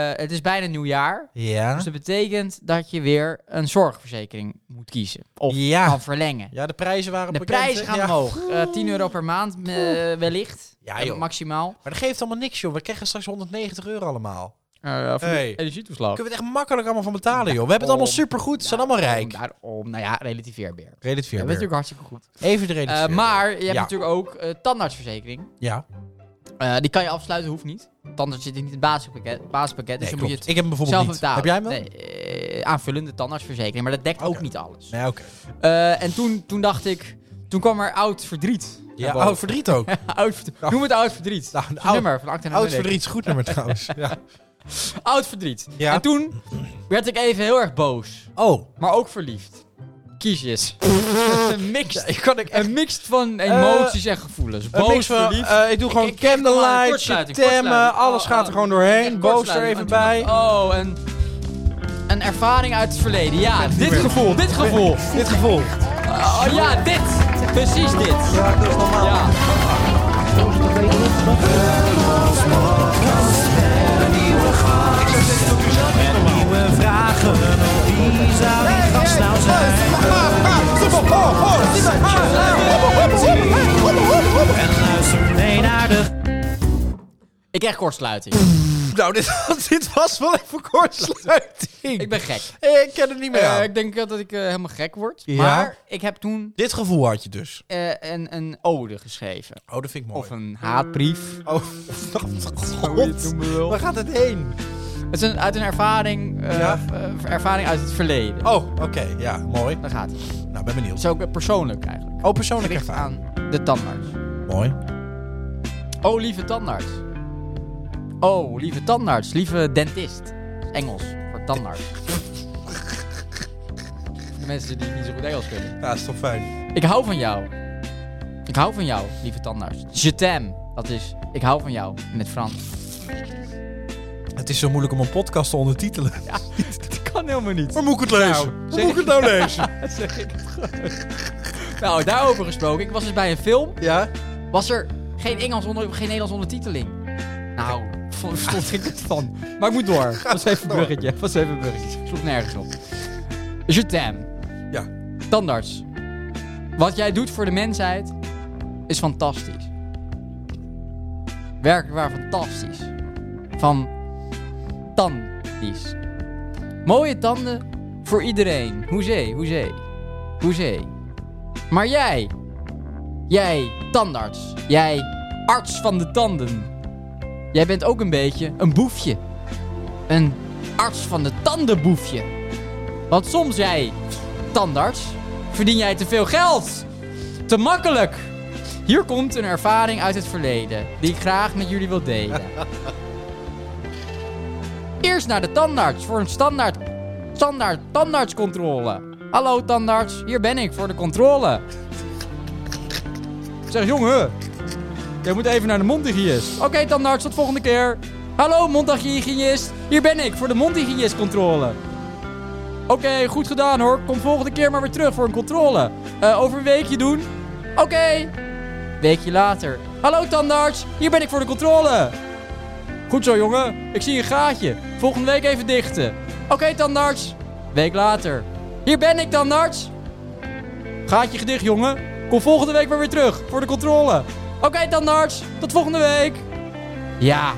B: eh, het is bijna nieuwjaar.
A: Ja.
B: Dus dat betekent dat je weer een zorgverzekering moet kiezen. Of
A: Ja.
B: kan verlengen.
A: Ja, de prijzen waren
B: De
A: bekend,
B: prijzen
A: hè?
B: gaan
A: Ja.
B: omhoog. Eh 10 euro per maand eh, wellicht. Eh,
A: Ja, joh.
B: Maximaal.
A: Maar dat geeft allemaal niks, joh. We krijgen straks 190 euro allemaal.
B: Eh, voor de
A: Hey.
B: Energietoeslag.
A: Kunnen we het echt makkelijk allemaal van betalen, joh. We hebben het allemaal supergoed. Ze zijn allemaal rijk.
B: Daarom, daarom, nou ja, relativeer weer. Dat
A: Reddit
B: is
A: 4
B: natuurlijk hartstikke goed.
A: Even de Reddit
B: Eh,
A: 4
B: maar je hebt
A: Ja.
B: natuurlijk ook eh, tandartsverzekering.
A: Ja,
B: Eh, die kan je afsluiten, hoeft niet. Tandarts zit niet in het basispakket. basispakket
A: nee,
B: dus dan
A: klopt.
B: moet je
A: Ik heb hem
B: het
A: bijvoorbeeld
B: zelf
A: niet.
B: betalen.
A: Heb jij hem wel?
B: Nee, eh, aanvullende tandartsverzekering, maar dat dekt ook
A: Oké.
B: niet alles.
A: Nee, oké.
B: Eh, en toen, toen dacht ik, toen kwam er oud verdriet.
A: Ja,
B: naar boven.
A: oud verdriet ook.
B: Oud Verdriet. Noem het oud verdriet.
A: Nou, een
B: Zo'n
A: oud-
B: nummer van Acta en
A: Oud
B: Munnik.
A: verdriet is een goed nummer trouwens. Ja.
B: Oud verdriet.
A: Ja.
B: En toen werd ik even heel erg boos,
A: Oh.
B: maar ook verliefd. Kiesjes. een mixed,
A: kan ik Eh,
B: een mixed van emoties en gevoelens.
A: Een mix
B: Boos,
A: van,
B: verliefd.
A: eh, ik doe gewoon
B: ik krijg gewoon een
A: candlelight,
B: kortsluiting,
A: temmen,
B: kortsluiting.
A: alles
B: Oh,
A: gaat
B: oh,
A: er gewoon
B: echt
A: doorheen. Boos er
B: kortsluiting.
A: even bij.
B: Oh, en Oh, een ervaring uit het verleden. Ja, dit
A: meer.
B: gevoel, dit gevoel.
A: Dit gevoel.
B: Oh ja, dit. Precies dit. Ja, dat is normaal. Ja.
A: nou
B: Ik krijg kortsluiting.
A: Nou, dit, dit was wel even kortsluiting.
B: Ik ben gek.
A: Ik ken het niet meer
B: Eh,
A: aan.
B: ik denk wel dat ik eh, helemaal gek word.
A: Ja.
B: Maar ik heb toen
A: Dit gevoel had je dus.
B: eh, een, een ode geschreven.
A: Oh, dat vind ik mooi.
B: Of een haatbrief.
A: Oh, god. Waar gaat het heen?
B: Het is een, uit een ervaring, eh,
A: Ja.
B: v- eh, ervaring uit het verleden.
A: Oh, oké. Ja, mooi.
B: Daar gaat het.
A: Nou, ben benieuwd.
B: Het is ook eh, persoonlijk eigenlijk.
A: Oh, persoonlijk
B: Gericht
A: ervaring.
B: aan de tandarts.
A: Mooi.
B: Oh, lieve tandarts. Oh, lieve tandarts. Lieve dentist. Engels voor tandarts. De mensen die niet zo goed Engels kunnen.
A: Ja, is toch fijn.
B: Ik hou van jou. Ik hou van jou, lieve tandarts. Je t'aime. Dat is, ik hou van jou. In het Frans.
A: Het is zo moeilijk om een podcast te ondertitelen.
B: Ja, dat kan helemaal niet.
A: Waar moet ik het lezen?
B: Nou,
A: Waar moet ik het nou lezen?
B: Dat zeg ik het gewoon. Nou, daarover gesproken. Ik was dus bij een film.
A: Ja?
B: Was er geen Engels onder, geen Nederlands ondertiteling? Nou, vo- vond ik het van. Maar ik moet door. Was even een bruggetje. Was even een bruggetje. Sloeg nergens op. Je t'aime.
A: Ja.
B: Tandarts. Wat jij doet voor de mensheid is fantastisch. Werkelijk waar fantastisch. Van tandies. Mooie tanden voor iedereen. Hoezee, hoezee. Hoezee. Maar jij, jij tandarts, jij arts van de tanden. Jij bent ook een beetje een boefje. Een arts van de tandenboefje. Want soms jij, tandarts, verdien jij te veel geld. Te makkelijk. Hier komt een ervaring uit het verleden die ik graag met jullie wil delen. Eerst naar de tandarts voor een standaard, standaard tandartscontrole. Hallo tandarts, hier ben ik voor de controle. Ik Zeg jongen, Jij moet even naar de mondhygiënist. Oké, tandarts, tot volgende keer. Hallo, mondhygiënist. Hier ben ik voor de mondhygiënistcontrole. Oké, goed gedaan hoor. Kom volgende keer maar weer terug voor een controle. Eh, over een weekje doen. Oké. Weekje later. Hallo, tandarts. Hier ben ik voor de controle. Goed zo, jongen. Ik zie een gaatje. Volgende week even dichten. Oké, tandarts. Week later. Hier ben ik, tandarts. Gaatje gedicht, jongen. Kom volgende week maar weer terug voor de controle. Oké, tandarts. Tot volgende week. Ja.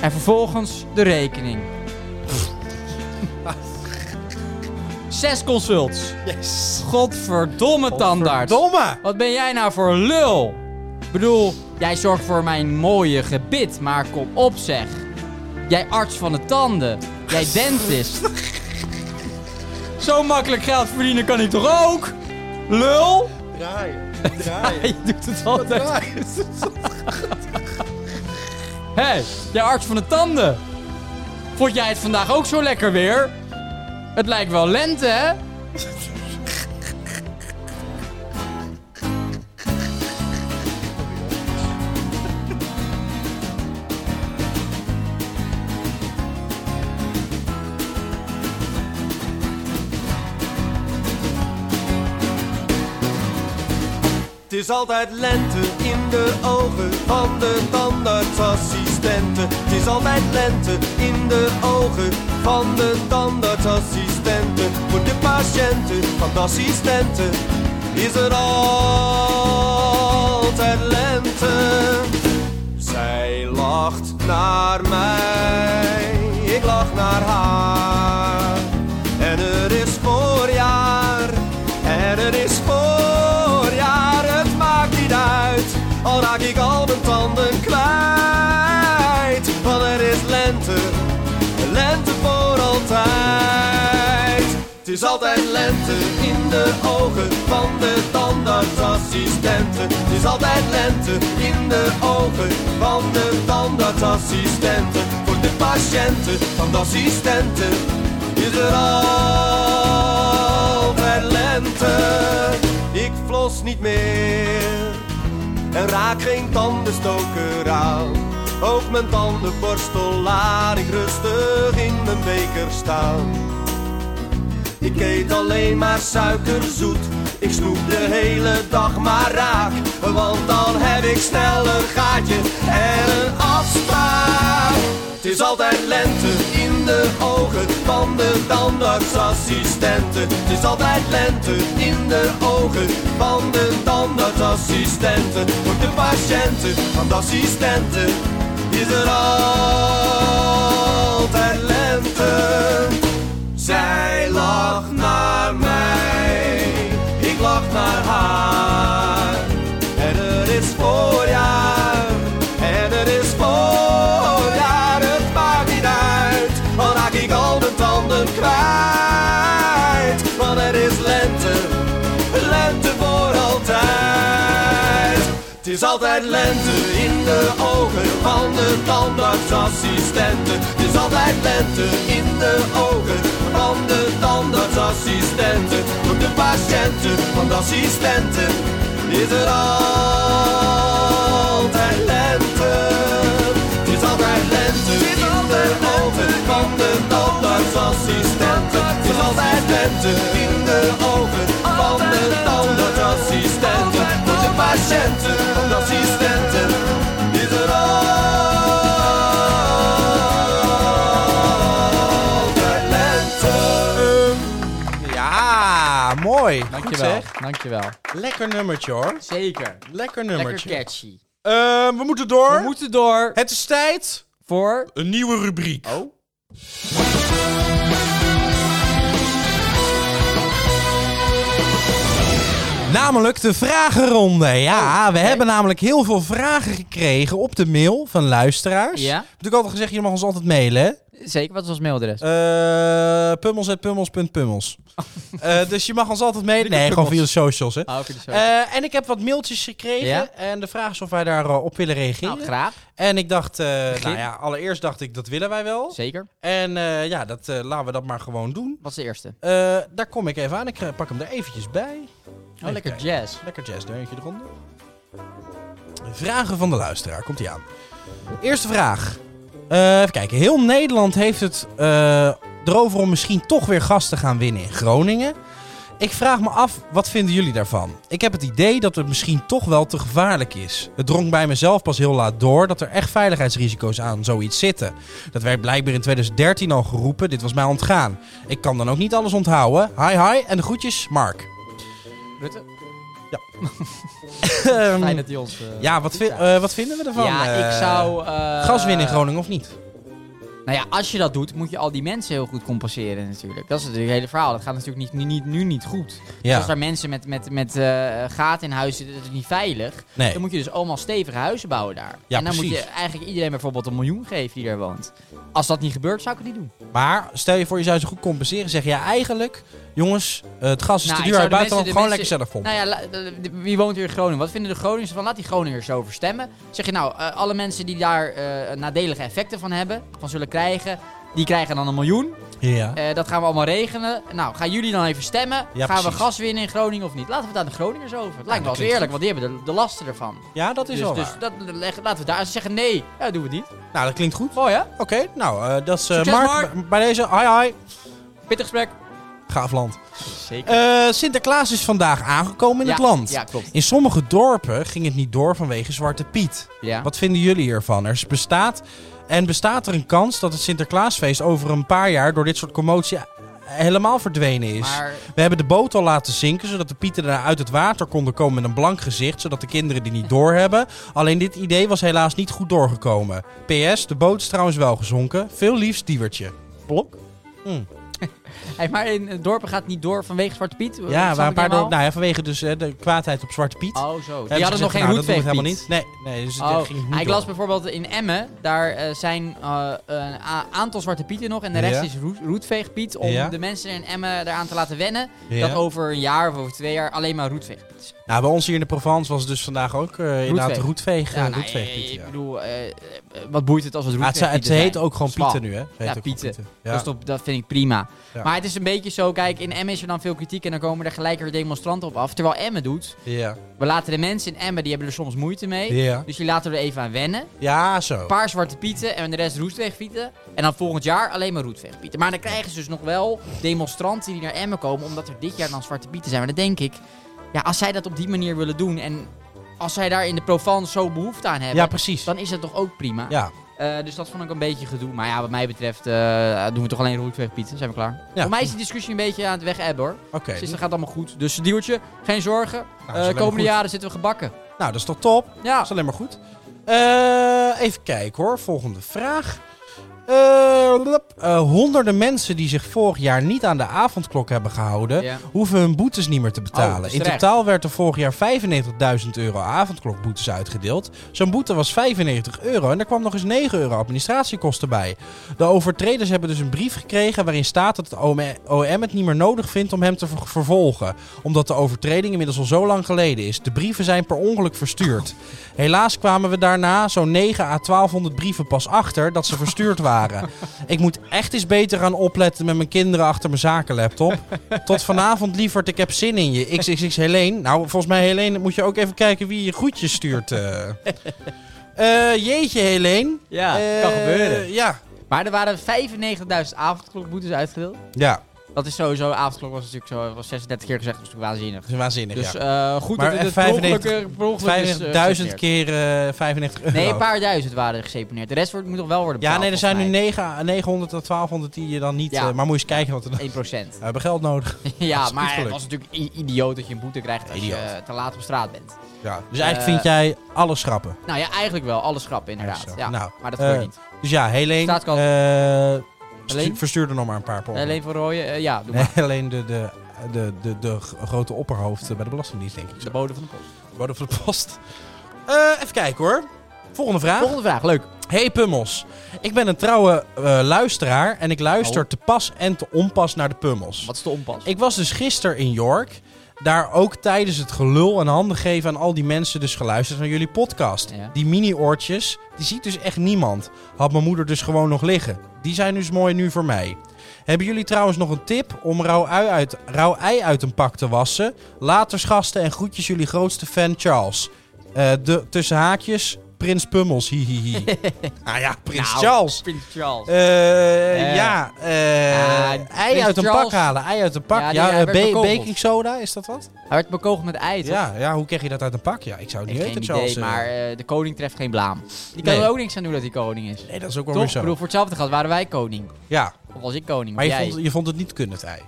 B: En vervolgens de rekening. Zes consults.
A: Yes.
B: Godverdomme, tandarts.
A: Domme!
B: Wat ben jij nou voor lul? Ik bedoel, jij zorgt voor mijn mooie gebit, maar kom op zeg. Jij arts van de tanden. Jij dentist. Zo makkelijk geld verdienen kan ik toch ook? Lul?
A: Draaien. Draaien.
B: Je doet het altijd. Hé, hey, jij arts van de tanden. Vond jij het vandaag ook zo lekker weer? Het lijkt wel lente, hè?
F: Het is altijd lente in de ogen van de tandartsassistenten. Het is altijd lente in de ogen van de tandartsassistenten. Voor de patiënten van de assistenten is er altijd lente. Zij lacht naar mij, ik lach naar haar. En er is voorjaar, en er is voorjaar, het maakt niet uit. Al raak ik al mijn tanden kwijt, want er is lente, lente voor altijd. Het is altijd lente in de ogen van de tandartsassistenten. Het is altijd lente in de ogen van de tandartsassistenten. Voor de patiënten van de assistenten is er altijd lente. Ik flos niet meer en raak geen tandenstoker aan. Ook mijn tandenborstel laat ik rustig in mijn beker staan. Ik eet alleen maar suikerzoet. Ik snoep de hele dag maar raak. Want dan heb ik snel een gaatje en een afspraak. Het is altijd lente in de ogen van de tandartsassistenten. Het is altijd lente in de ogen van de tandartsassistenten. Voor de patiënten van de assistenten is er altijd lente. Zij lacht naar mij, ik lach naar haar. En er is voorjaar, en er is voorjaar, het maakt niet uit. Al raak ik al de tanden kwijt, want er is lente, lente voor altijd. Het is altijd lente in de ogen van de tandartsassistenten. Het is altijd lente in de ogen van de tandartsassistenten. Voor de patiënten van de assistenten is er altijd lente. Het is altijd lente in de ogen van de tandartsassistenten. Het is altijd lente in de ogen van de tandartsassistenten. Voor de patiënten van de assistenten is er altijd lente.
A: Ja, mooi.
B: Dankjewel,
A: Goed,
B: dankjewel.
A: zeg. Lekker nummertje hoor.
B: Zeker.
A: Lekker
B: Lekker
A: nummertje.
B: catchy.
A: Eh, we moeten door.
B: We moeten door
A: Het is tijd.
B: voor...
A: Een nieuwe rubriek.
B: Oh.
A: Namelijk de vragenronde. Ja, we hebben namelijk heel veel vragen gekregen op de mail van luisteraars.
B: Ja.
A: Ik heb natuurlijk altijd gezegd, je mag ons altijd mailen. hè?
B: Zeker, wat was ons mailadres?
A: Eh pummels.pummels.pummels. Eh dus je mag ons altijd mailen. Nee, gewoon via de socials. Hè.
B: Ah, oké, dus zo.
A: Eh, en ik heb wat mailtjes gekregen.
B: Ja.
A: En de vraag is of wij daarop op willen reageren.
B: nou, graag.
A: en ik dacht, eh,
B: Begin.
A: nou ja, allereerst dacht ik, dat willen wij wel.
B: Zeker.
A: En eh, ja, dat, eh, laten we dat maar gewoon doen.
B: Wat is de eerste?
A: Eh, daar kom ik even aan. Ik eh, pak hem er eventjes bij.
B: Oh, lekker
A: kijken.
B: jazz.
A: Lekker jazzdeuntje eronder. Vragen van de luisteraar, komt ie aan. Eerste vraag. Eh, even kijken. Heel Nederland heeft het eh, erover om misschien toch weer gas te gaan winnen in Groningen. Ik vraag me af, wat vinden jullie daarvan? Ik heb het idee dat het misschien toch wel te gevaarlijk is. Het drong bij mezelf pas heel laat door dat er echt veiligheidsrisico's aan zoiets zitten. Dat werd blijkbaar in 2013 al geroepen, dit was mij ontgaan. Ik kan dan ook niet alles onthouden. Hi hi en de groetjes, Mark.
B: Rutte,
A: Ehm,
B: fijn dat hij ons... eh,
A: ja, wat, vi- eh, wat vinden we ervan?
B: ja, ik
A: Eh,
B: zou... eh,
A: Gas winnen in Groningen of niet?
B: Nou ja, als je dat doet, moet je al die mensen heel goed compenseren natuurlijk. Dat is natuurlijk het hele verhaal. Dat gaat natuurlijk niet, nu, niet, nu niet goed. Dus als daar mensen met, met, met eh, gaten in huis zitten, dat is niet veilig.
A: Nee.
B: Dan moet je dus allemaal stevige huizen bouwen daar.
A: Ja,
B: en dan moet je
A: precies.
B: eigenlijk iedereen bijvoorbeeld een miljoen geven die daar woont. Als dat niet gebeurt, zou ik het niet doen.
A: Maar stel je voor, je zou ze goed compenseren. Zeg je ja, eigenlijk, jongens, eh, het gas is
B: Nou,
A: te
B: ik
A: duur
B: zou
A: uit
B: de
A: buitenland.
B: mensen-
A: Gewoon
B: de
A: lekker zelf pompen.
B: Nou ja, la- de- de- wie woont hier in Groningen? Wat vinden de Groningers van? Laat die Groningers zo verstemmen. Zeg je nou, eh, alle mensen die daar eh, nadelige effecten van hebben, van zullen krijgen, die krijgen dan een miljoen.
A: ja.
B: Eh, dat gaan we allemaal regenen. Nou, gaan jullie dan even stemmen?
A: Ja,
B: gaan we
A: precies.
B: gas winnen in Groningen of niet? Laten we het aan de Groningers over. Het lijkt me
A: dat
B: wel
A: klinkt
B: eens eerlijk, want die hebben de, de lasten ervan.
A: ja, dat is
B: dus
A: wel
B: dus
A: waar.
B: dat, leg- laten we daar. Als ze zeggen nee, ja, dat doen we niet.
A: Nou, dat klinkt goed.
B: Mooi hè?
A: Oké, nou, eh, dat is eh,
B: Succes,
A: Mark,
B: Mark.
A: b- bij deze. Hi hi.
B: Pittig gesprek.
A: Gaaf land.
B: Zeker.
A: Eh, Sinterklaas is vandaag aangekomen in het land.
B: Ja, klopt.
A: In sommige dorpen ging het niet door vanwege Zwarte Piet.
B: Ja.
A: Wat vinden jullie hiervan? Er is- bestaat en bestaat er een kans dat het Sinterklaasfeest over een paar jaar door dit soort commotie eh, helemaal verdwenen is?
B: Maar
A: We hebben de boot al laten zinken, zodat de pieten daarna uit het water konden komen met een blank gezicht, zodat de kinderen die niet doorhebben. Alleen dit idee was helaas niet goed doorgekomen. PS, de boot is trouwens wel gezonken. Veel liefst Diewertje. Blok?
B: Hey, maar in eh, dorpen gaat het niet door vanwege Zwarte Piet? Dat
A: Ja,
B: snap
A: waar een
B: ik
A: paar
B: helemaal.
A: dorpen- nou ja, vanwege dus eh, de kwaadheid op Zwarte Piet.
B: Oh, zo.
A: hebben
B: Die
A: ze
B: hadden nog
A: gezegd,
B: geen
A: nou, dat doen we
B: roetveeg.
A: helemaal niet. Nee, nee dus het
B: Oh,
A: ging niet
B: ik
A: door.
B: las bijvoorbeeld in Emmen, daar eh, zijn eh, een a- aantal Zwarte Pieten nog en de rest
A: Ja.
B: is roet, roetveegpiet om
A: Ja.
B: de mensen in Emmen eraan te laten wennen
A: Ja.
B: dat over een jaar of over twee jaar alleen maar roetveegpiet is.
A: Nou, bij ons hier in de Provence was het dus vandaag ook eh inderdaad
B: Roetveeg.
A: roetveeg, eh,
B: nou,
A: roetveegpiet,
B: eh,
A: ja.
B: Ik bedoel, eh, eh, wat boeit het als het
A: Ah, het,
B: roetveegpieten
A: ze- het
B: zijn?
A: heet ook gewoon
B: Sla.
A: Pieten nu, hè? Het heet
B: Ja,
A: ook gewoon
B: Pieten.
A: Ja.
B: Dus dat, dat vind ik prima.
A: Ja.
B: Maar het is een beetje zo, kijk, in Emmen is er dan veel kritiek en dan komen er gelijk weer demonstranten op af. Terwijl Emmen doet,
A: ja.
B: we laten de mensen in Emmen, die hebben er soms moeite mee.
A: Ja.
B: Dus die laten we er even aan wennen.
A: ja, zo.
B: Een paar zwarte pieten en de rest roetveegpieten. En dan volgend jaar alleen maar roetveegpieten. Maar dan krijgen ze dus nog wel demonstranten die naar Emmen komen, omdat er dit jaar dan zwarte pieten zijn. Maar dan denk ik, ja, als zij dat op die manier willen doen en als zij daar in de Provence zo behoefte aan hebben,
A: Ja, precies.
B: dan is dat toch ook prima.
A: Ja.
B: Eh, dus dat vond ik een beetje gedoe. Maar ja, wat mij betreft eh, doen we toch alleen roetveegpieten. Zijn we klaar? Voor mij is die discussie een beetje aan het weg ebben hoor.
A: Oké. Nou,
B: Dus dat gaat allemaal goed. Dus duwtje, geen zorgen.
A: is
B: Eh,
A: alleen maar
B: komende
A: goed.
B: jaren zitten we gebakken.
A: Nou, dat is toch top?
B: Ja.
A: Dat is alleen maar goed. Eh, even kijken hoor. Volgende vraag. Eh, blub. Eh, honderden mensen die zich vorig jaar niet aan de avondklok hebben gehouden,
B: Ja.
A: hoeven hun boetes niet meer te
B: Oh,
A: betalen.
B: dat is
A: In
B: terecht.
A: totaal werd er vorig jaar 95.000 euro avondklokboetes uitgedeeld. Zo'n boete was 95 euro en er kwam nog eens 9 euro administratiekosten bij. De overtreders hebben dus een brief gekregen waarin staat dat het OM het niet meer nodig vindt om hem te ver- vervolgen. Omdat de overtreding inmiddels al zo lang geleden is. De brieven zijn per ongeluk verstuurd. Helaas kwamen we daarna zo'n 9 à 1200 brieven pas achter dat ze verstuurd waren. Ik moet echt eens beter gaan opletten met mijn kinderen achter mijn zakenlaptop. Tot vanavond, lieverd, ik heb zin in je. XXX Helene. Nou, volgens mij Helene moet je ook even kijken wie je groetjes stuurt. eh. Eh, jeetje Helene.
B: Ja,
A: Eh, Ja.
B: Maar er waren 95.000 avondklokboetes uitgedeeld.
A: Ja,
B: Dat is sowieso, avondklok was natuurlijk zo, was 36 keer gezegd, dus dat is natuurlijk waanzinnig.
A: dat is waanzinnig.
B: Dus
A: ja.
B: eh, goed
A: Maar
B: dat het
A: en
B: per ongeluk, eh, per ongeluk is, eh,
A: 95.000
B: geseponeerd.
A: keer eh 95 euro.
B: Nee, een paar duizend waren er geseponeerd. De rest wordt, moet nog wel worden
A: Ja,
B: betaald.
A: nee, er zijn nu
B: volgens
A: 9, 900 tot 1200 die je dan niet...
B: Ja.
A: eh, maar moet je eens kijken wat er... dan-
B: mij. 1%.
A: We hebben geld nodig. Dat
B: ja,
A: is goed
B: maar het
A: gelukt.
B: was natuurlijk i- idioot dat je een boete krijgt als
A: Idioot.
B: je eh, te laat op straat bent.
A: Ja. Dus eigenlijk
B: Eh,
A: vind jij alles schrappen.
B: Nou ja, eigenlijk wel. Alles grappen inderdaad.
A: Eigenlijk
B: Ja,
A: zo. Nou,
B: maar dat
A: eh,
B: gebeurt niet.
A: Dus ja, Helene...
B: Staatskant.
A: eh, stu-
B: Helene?
A: Verstuur er nog maar een paar per
B: Alleen voor rooien, eh, ja, doe
A: Nee,
B: maar.
A: alleen de, de, de, de, de g- grote opperhoofd eh, bij de Belastingdienst, denk ik.
B: De bode van de post.
A: Worden van de post. Eh, even kijken hoor. Volgende vraag.
B: Volgende vraag, leuk.
A: Hey Pummels. Ik ben een trouwe eh, luisteraar en ik luister
B: Oh.
A: te pas en te onpas naar de Pummels.
B: Wat is de onpas?
A: Ik was dus gisteren in York. Daar ook tijdens het gelul en handen geven aan al die mensen dus geluisterd naar jullie podcast.
B: Ja.
A: Die mini-oortjes, die ziet dus echt niemand. Had mijn moeder dus gewoon nog liggen. Die zijn dus mooi nu voor mij. Hebben jullie trouwens nog een tip om rauw ei uit, rauw ei uit een pak te wassen? Latersgasten en groetjes jullie grootste fan Charles. Eh, de, tussen haakjes, Prins Pummels, hihihi. ah ja, Prins
B: Nou,
A: Charles.
B: Prins Charles.
A: Eh,
B: Eh.
A: ja, eh,
B: Ah,
A: ei
B: Prins
A: uit een pak
B: Charles.
A: halen, ei uit een pak.
B: Ja,
A: Ja,
B: die- hij
A: eh,
B: werd
A: ba-
B: bekogeld.
A: baking soda, is dat wat?
B: Hij werd bekogeld met ijs. hè?
A: Ja, ja, hoe krijg je dat uit een pak? Ja, ik zou het
B: Ik
A: niet
B: heb
A: weten,
B: geen
A: Charles.
B: idee,
A: eh.
B: maar eh, de koning treft geen blaam. Die kan
A: Nee.
B: er ook niks aan doen dat hij koning is.
A: Nee, dat is ook wel weer
B: Toch? Ik
A: zo.
B: bedoel, voor hetzelfde geld waren wij koning.
A: Ja,
B: Of was ik koning,
A: maar
B: of
A: je
B: jij.
A: vond, je vond het niet kunnen, het ei.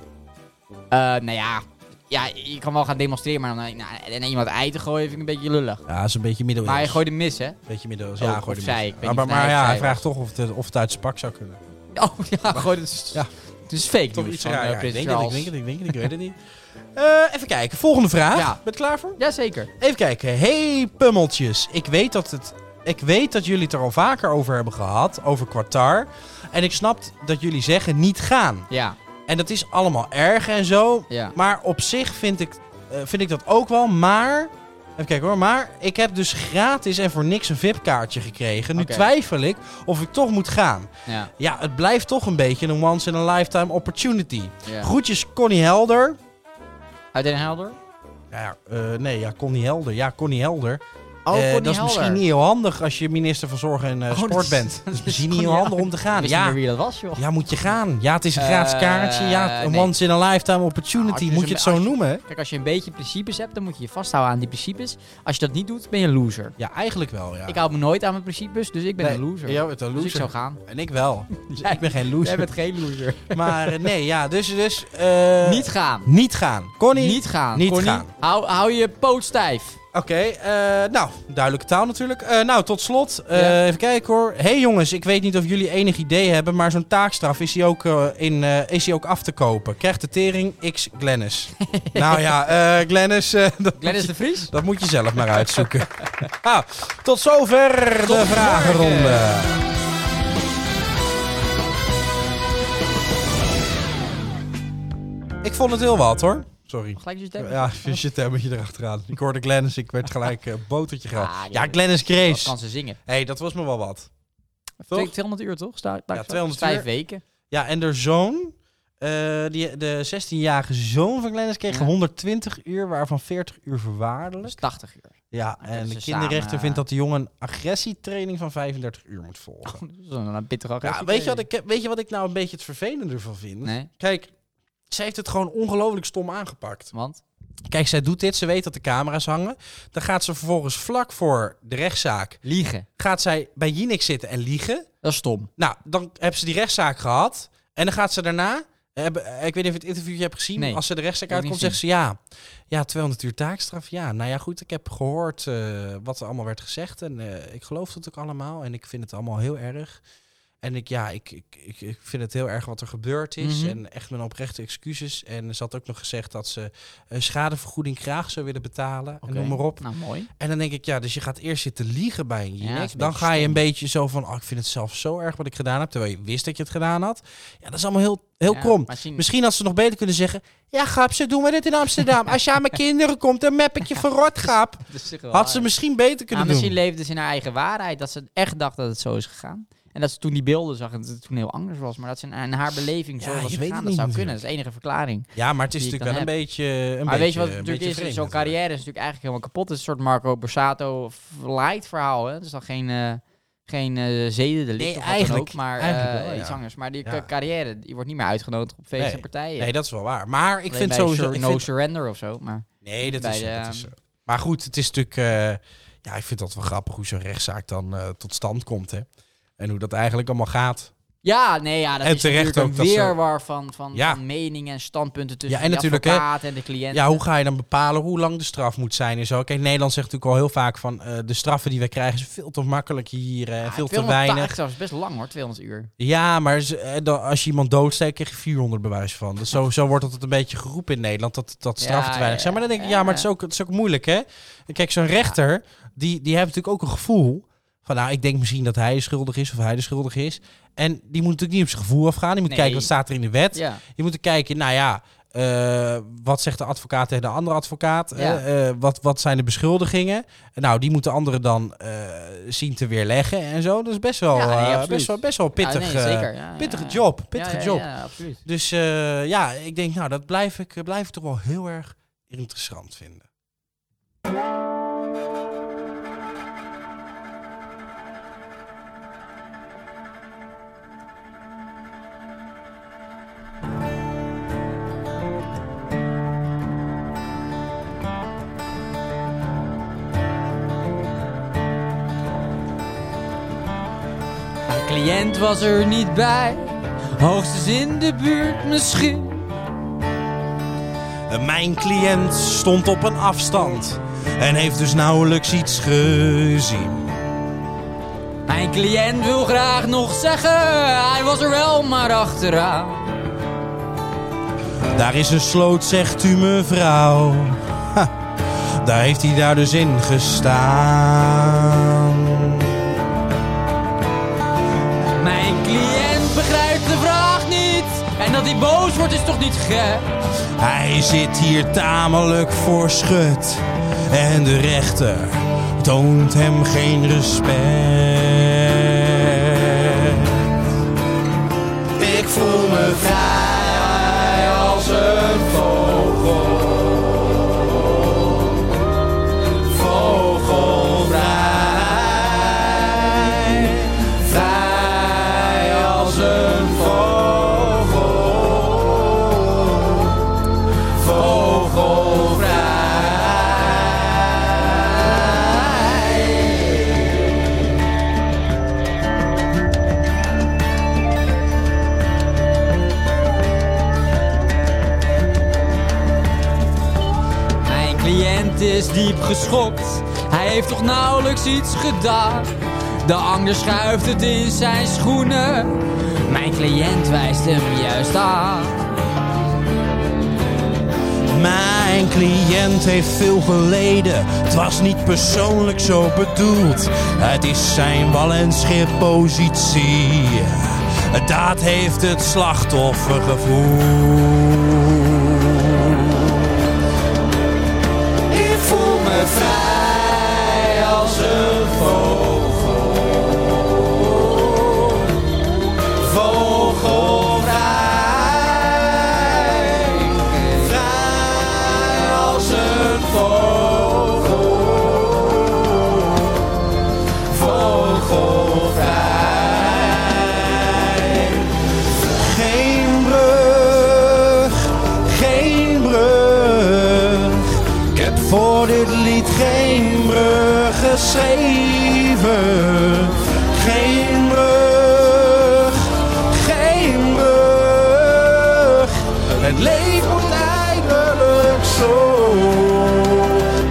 B: Eh, nou ja. ja, je kan wel gaan demonstreren, maar dan nou, en iemand ei te gooien vind ik een beetje lullig.
A: Ja, dat is een beetje middeleeuws.
B: Maar hij gooide mis, hè?
A: beetje middeleeuws.
B: Oh,
A: Ja,
B: of
A: gooi die
B: zij,
A: mis.
B: ik weet
A: Maar,
B: niet
A: maar,
B: of hij of
A: ja,
B: zij
A: hij vraagt toch of het, eh, of het uit zijn pak zou kunnen.
B: Oh ja, gooi het.
A: Ja.
B: Het is fake
A: Toch
B: nieuws
A: iets
B: van
A: raar.
B: eh,
A: Ja, ik
B: Prins
A: denk het, ik
B: Charles.
A: denk het, ik denk het, ik weet het niet. Eh, even kijken, volgende vraag.
B: Ja.
A: Ben je er klaar voor?
B: Jazeker.
A: Even kijken. Hey pummeltjes, ik weet dat het... Ik weet dat jullie het er al vaker over hebben gehad, over Qatar. En ik snap dat jullie zeggen niet gaan.
B: Ja,
A: En dat is allemaal erg en zo.
B: ja.
A: Maar op zich vind ik, eh, vind ik dat ook wel. Maar, even kijken hoor. Maar ik heb dus gratis en voor niks een VIP-kaartje gekregen. Nu
B: Oké.
A: twijfel ik of ik toch moet gaan.
B: ja,
A: Ja, het blijft toch een beetje een once-in-a-lifetime opportunity.
B: ja.
A: Groetjes Connie Helder.
B: Uit Den Helder?
A: Ja, Ja, eh, nee, ja, Connie Helder. Ja, Connie Helder.
B: Oh,
A: Eh,
B: Connie
A: dat is
B: Helder.
A: misschien niet heel handig als je minister van Zorg en eh,
B: Oh, dat
A: Sport
B: is-
A: bent.
B: dat
A: Dat
B: is
A: is misschien niet
B: Connie
A: heel handig om te
B: Ik
A: gaan.
B: wist niet
A: Ja,
B: meer wie dat was, joh.
A: ja, moet je gaan. Ja, het is een gratis
B: Eh,
A: kaartje. Ja, een
B: nee.
A: once-in-a-lifetime opportunity.
B: Nou, als je
A: moet
B: zo'n-
A: je het zo
B: als je-
A: noemen? hè?
B: Kijk, als je een beetje principes hebt, dan moet je je vasthouden aan die principes. Als je dat niet doet, ben je een loser.
A: Ja, eigenlijk wel, ja.
B: Ik hou me nooit aan mijn principes, dus ik ben
A: Nee,
B: een loser.
A: Jij bent een
B: Dus
A: loser.
B: ik zou gaan.
A: En ik wel. Dus ik ben geen loser.
B: Jij bent geen loser.
A: Maar eh, nee, ja, dus... dus eh,
B: niet gaan.
A: niet gaan. Connie.
B: Niet gaan.
A: Niet
B: Connie,
A: gaan.
B: Hou, hou je poot stijf.
A: Oké, eh, nou, duidelijke taal natuurlijk. Eh, nou, tot slot. eh,
B: Ja.
A: Even kijken hoor. hey jongens, ik weet niet of jullie enig idee hebben, maar zo'n taakstraf is die ook, eh, in, eh, is die ook af te kopen. Krijgt de tering X Glennis. nou ja, eh Glennis, eh, dat,
B: Glennis de Vries?
A: dat moet je zelf maar uitzoeken. Ah, tot zover de
B: morgen.
A: vragenronde. Ik vond het heel wat hoor. Sorry.
B: Gelijk je stem.
A: Ja, je zit een beetje erachteraan. Ik hoorde Glennis, ik werd gelijk eh, botertje gehaald.
B: Ah,
A: ja,
B: ja.
A: Glennis
B: Dat
A: Grace.
B: kan ze zingen.
A: Hé, hey, dat was me wel wat. Toch?
B: Twee- 200 uur toch? Sta, sta-
A: Ja, 200
B: Vijf
A: uur.
B: weken.
A: Ja, en haar zoon, eh, die, de 16-jarige zoon van Glennis, kreeg
B: Ja. Dus
A: 120 uur, waarvan 40 uur
B: Dat is
A: verwaardelijk.
B: 80 uur.
A: Ja,
B: kunnen
A: en de
B: ze
A: kinderrechter
B: samen-
A: vindt dat de jongen een agressietraining van 35 uur moet volgen.
B: Dat is dan Oh, een pittige
A: Ja,
B: agressie.
A: weet je, wat ik, weet je wat ik nou een beetje het vervelende ervan vind?
B: Nee,
A: Kijk, ze heeft het gewoon ongelooflijk stom aangepakt.
B: want...
A: Kijk, zij doet dit, ze weet dat de camera's hangen. Dan gaat ze vervolgens vlak voor de rechtszaak
B: Liegen.
A: gaat zij bij Jinek zitten en liegen.
B: Dat is stom.
A: Nou, dan hebben ze die rechtszaak gehad. En dan gaat ze daarna. hebben- eh, Ik weet niet of je het interviewje hebt gezien.
B: Nee,
A: Als ze de rechtszaak
B: heb ik
A: uitkomt,
B: niet
A: zegt ze ja. Ja, 200 uur taakstraf. Ja, nou ja, goed. Ik heb gehoord eh, wat er allemaal werd gezegd. En eh, ik geloof dat ook allemaal. En ik vind het allemaal heel erg. En ik, ja, ik, ik, ik, ik vind het heel erg wat er gebeurd is.
B: Mhm.
A: En echt mijn oprechte excuses. En ze had ook nog gezegd dat ze een schadevergoeding graag zou willen betalen.
B: Oké.
A: En noem maar op.
B: Nou, mooi.
A: En dan denk ik, ja, dus je gaat eerst zitten liegen bij een
B: Ja, dat
A: jinek.
B: is een
A: dan
B: beetje
A: ga je een
B: stom.
A: beetje zo van, oh, ik vind het zelf zo erg wat ik gedaan heb. Terwijl je wist dat je het gedaan had. Ja, dat is allemaal heel, heel
B: Ja,
A: krom.
B: maar zien-
A: Misschien had ze nog beter kunnen zeggen, ja, grap, ze doen we dit in Amsterdam. Als je aan mijn kinderen komt, dan map ik je verrot, grap.
B: dat is toch wel
A: Had ze
B: waar.
A: misschien beter
B: Nou,
A: kunnen doen.
B: misschien leefde ze in haar eigen waarheid. Dat ze echt dacht dat het zo is gegaan. En dat ze toen die beelden zag en dat het toen heel anders was. Maar dat ze in, in haar beleving zo
A: Ja, je
B: was
A: weet
B: gegaan.
A: het
B: Dat
A: niet
B: zou
A: natuurlijk.
B: kunnen. Dat is de enige verklaring.
A: Ja, maar het is
B: Die ik
A: natuurlijk wel een
B: dan
A: beetje... Een beetje,
B: maar weet je wat het
A: een
B: natuurlijk
A: beetje
B: is? Zo'n
A: vreemd
B: carrière is natuurlijk eigenlijk helemaal kapot. Het is een soort Marco Borsato light verhaal. Hè? Het is dan geen, eh geen eh zedendelict
A: Nee,
B: of wat dan
A: eigenlijk-
B: ook. Maar
A: eigenlijk
B: eh,
A: wel, ja.
B: iets anders. Maar die
A: Ja.
B: ca- carrière, die wordt niet meer uitgenodigd op feesten
A: Nee.
B: en partijen.
A: Nee, dat is wel waar. Maar ik
B: Alleen
A: vind
B: bij
A: sowieso...
B: sur-
A: ik
B: No
A: vind-
B: surrender of zo. Maar
A: Nee, dat
B: bij
A: is, zo,
B: de, ehm,
A: dat is zo. Maar goed, het is natuurlijk... eh, ja, ik vind dat wel grappig hoe zo'n rechtszaak dan eh, tot stand komt, hè. En hoe dat eigenlijk allemaal gaat.
B: Ja, nee, ja, dat
A: En
B: is
A: terecht
B: natuurlijk
A: ook
B: een
A: dat ze-
B: weerwar van, van,
A: Ja.
B: van meningen en standpunten tussen
A: Ja, en
B: de
A: natuurlijk, hè,
B: advocaat en de cliënt.
A: Ja, hoe ga je dan bepalen hoe lang de straf moet zijn en zo? Kijk, Nederland zegt natuurlijk al heel vaak van eh, de straffen die we krijgen zijn veel te makkelijk hier, eh,
B: Ja,
A: veel te
B: 280
A: weinig.
B: Dat is best lang hoor, 200 uur.
A: Ja, maar ze- eh, dan- als je iemand doodsteekt, krijg je 400 bewijs van. Dus zo, zo wordt dat een beetje geroepen in Nederland, dat, dat straffen
B: Ja,
A: te weinig
B: ja,
A: zijn. Maar dan denk ik, ja, maar het is ook, het is ook moeilijk, hè? En Kijk, zo'n rechter, die, die heeft natuurlijk ook een gevoel van, nou, ik denk misschien dat hij schuldig is of hij de schuldig is. En die moet natuurlijk niet op zijn gevoel afgaan. Die moet
B: Nee.
A: kijken, wat staat er in de wet?
B: Ja.
A: Je moet er kijken, nou ja, eh, wat zegt de advocaat tegen de andere advocaat?
B: Ja.
A: Eh, eh, wat, wat zijn de beschuldigingen? Nou, die moeten anderen dan eh, zien te weerleggen en zo. Dat is best wel,
B: Ja, nee,
A: eh,
B: absoluut.
A: best wel, best wel pittig.
B: nee,
A: eh,
B: zeker. Ja, ja,
A: pittige
B: ja.
A: job, pittige
B: Ja, ja,
A: job.
B: Ja, absoluut.
A: Dus eh, ja, ik denk, nou, dat blijf ik, blijf ik toch wel heel erg interessant vinden.
B: cliënt was er niet bij, hoogstens in de buurt misschien.
A: Mijn cliënt stond op een afstand en heeft dus nauwelijks iets gezien.
B: Mijn cliënt wil graag nog zeggen, hij was er wel maar achteraan.
A: Daar is een sloot, zegt u mevrouw. Ha, daar heeft hij daar dus in gestaan.
B: Mijn cliënt begrijpt de vraag niet, en dat hij boos wordt is toch niet gek?
A: Hij zit hier tamelijk voor schut en de rechter toont hem geen respect.
F: Ik voel me vrij als een vogel. Vogelvrij. Vrij als een vogel. Vogelvrij.
B: Mijn cliënt is diep geschokt, hij heeft toch nauwelijks iets gedaan. De ander schuift het in zijn schoenen, mijn cliënt wijst hem juist aan.
A: Mijn cliënt heeft veel geleden. Het was niet persoonlijk zo bedoeld. Het is zijn wal- en schippositie. Dat heeft het slachtoffer gevoeld.
F: Ik voel me vrij als een vogel. Vogelvrij. Vrij als een vogel. Vogelvrij.
A: Geen brug, geen brug. Ik heb voor dit lied geen brug geschreven. Geen brug, geen brug. Het leven moet eindelijk zo.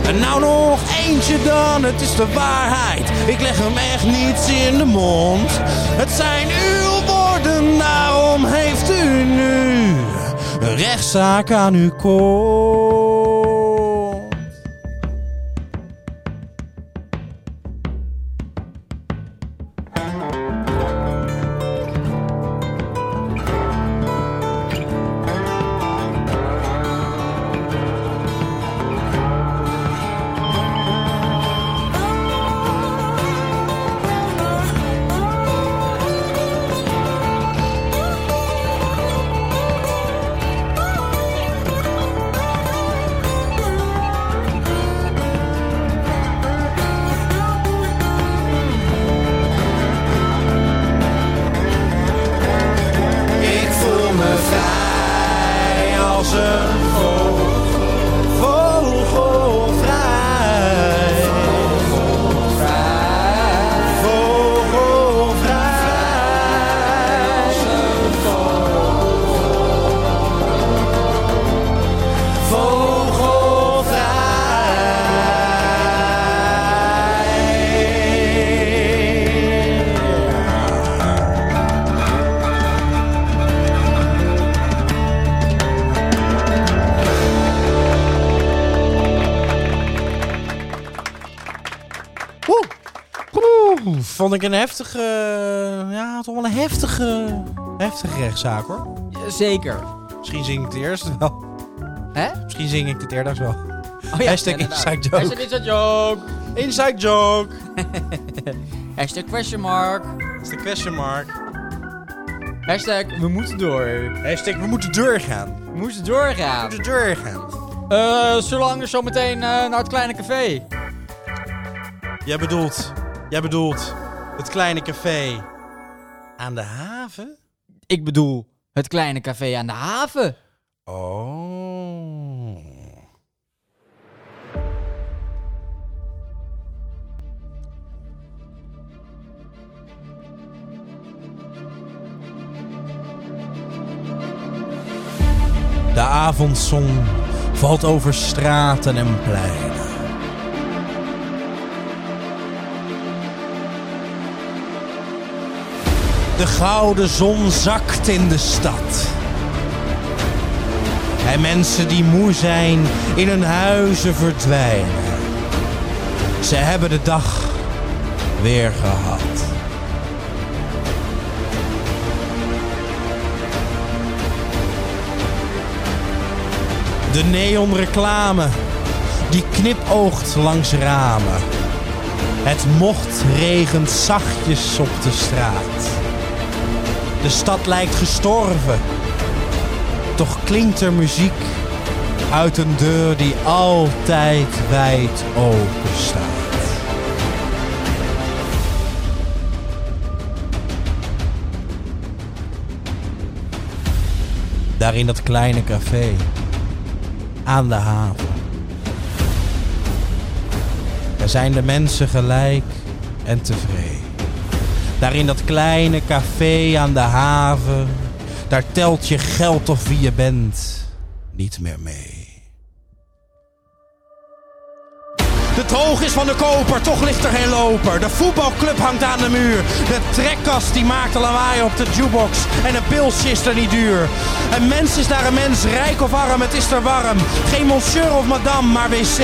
A: En nou nog eentje dan, het is de waarheid. Ik leg hem echt niets in de mond. Het zijn uw woorden, daarom heeft u nu een rechtszaak aan uw kont.
F: Ik voel me vrij als een vogel.
A: Vogelvrij. Vogelvrij. Oeh. Oeh, Vond ik een heftige, eh, ja, toch wel een heftige, heftige rechtszaak hoor.
B: Zeker.
A: Misschien zing ik het eerst wel.
B: Hè?
A: Misschien zing ik dit eerder wel.
B: Oh ja,
A: Hashtag
B: inderdaad.
A: inside joke.
B: Hashtag inside joke.
A: Inside joke.
B: Hashtag question mark.
A: Dat is de question mark.
B: Hashtag we moeten door.
A: Hashtag, we moeten doorgaan.
B: We
A: We
B: moeten doorgaan.
A: moeten doorgaan.
B: Eh, zolang er zometeen eh, naar het kleine café.
A: Jij bedoelt, jij bedoelt het kleine café aan de haven?
B: Ik bedoel, het kleine café aan de haven.
A: Oh. De avondzon valt over straten en pleinen. De gouden zon zakt in de stad. En mensen die moe zijn in hun huizen verdwijnen. Ze hebben de dag weer gehad. De neonreclame die knipoogt langs ramen. Het mocht regent zachtjes op de straat. De stad lijkt gestorven. Toch klinkt er muziek uit een deur die altijd wijd open staat. Daar in dat kleine café aan de haven. Daar zijn de mensen gelijk en tevreden. Daar in dat kleine café aan de haven, daar telt je geld of wie je bent niet meer mee. De droog is van de koper, toch ligt er geen loper. De voetbalclub hangt aan de muur. De trekkast die maakt een lawaai op de jukebox. En een pilsje is er niet duur. Een mens is naar een mens, rijk of arm, het is er warm. Geen monsieur of madame, maar wc.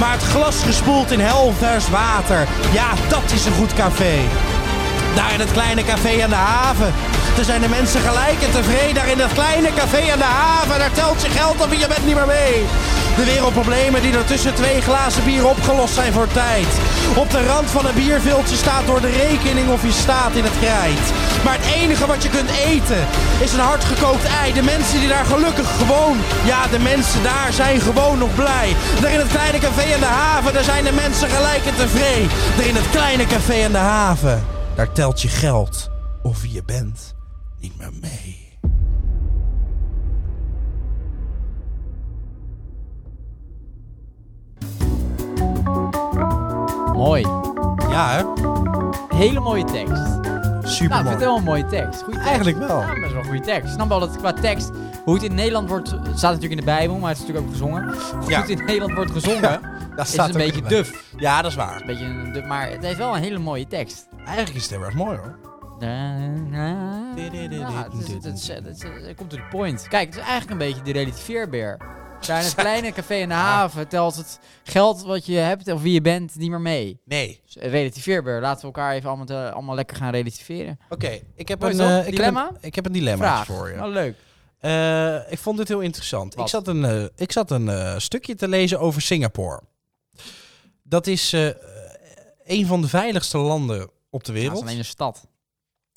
A: Maar het glas gespoeld in helvers water. Ja, dat is een goed café. Daar in het kleine café aan de haven. Er zijn de mensen gelijk en tevreden. Daar in dat kleine café aan de haven. Daar telt je geld op en je bent niet meer mee. De wereldproblemen die er tussen twee glazen bier opgelost zijn voor tijd. Op de rand van een bierviltje staat door de rekening of je staat in het krijt. Maar het enige wat je kunt eten is een hardgekookt ei. De mensen die daar gelukkig gewoon... Ja, de mensen daar zijn gewoon nog blij. Daar in het kleine café aan de haven. Daar zijn de mensen gelijk en tevreden. Daar in het kleine café aan de haven. Daar telt je geld of wie je bent niet meer mee.
B: Mooi.
A: Ja, hè?
B: Hele mooie tekst. Nou,
A: Super
B: ik vind het wel een mooie tekst. Goeie tekst.
A: Eigenlijk wel.
B: Ja, best wel een goede tekst. Ik snap wel dat qua tekst, hoe het in Nederland wordt, het staat natuurlijk in de Bijbel, maar het is natuurlijk ook gezongen. Hoe
A: Ja.
B: het in Nederland wordt gezongen,
A: dat
B: is
A: staat
B: een
A: ook
B: beetje
A: in de
B: duf.
A: Ja, dat is waar.
B: Beetje een duf. Maar het heeft wel een hele mooie tekst.
A: Eigenlijk is het heel erg mooi, hoor.
B: Ja, het, is, het, is- het is- het komt to the point. Kijk, het is eigenlijk een beetje de relativeerbeer. Daar in het kleine café in de haven telt het geld wat je hebt of wie je bent niet meer mee.
A: Nee.
B: Dus relativeerbeer, laten we elkaar even allemaal, te- allemaal lekker gaan relativeren.
A: Oké, ik heb
B: Mooi,
A: een...
B: toch?
A: eh, ik
B: Dilemma?
A: Heb een, ik heb een dilemma
B: Vraag.
A: voor je.
B: Nou, leuk.
A: Eh, ik vond dit heel interessant.
B: Wat?
A: Ik zat een, eh, ik zat een eh, stukje te lezen over Singapore. Dat is eh, een van de veiligste landen op de
B: Ja,
A: wereld.
B: het is alleen een stad.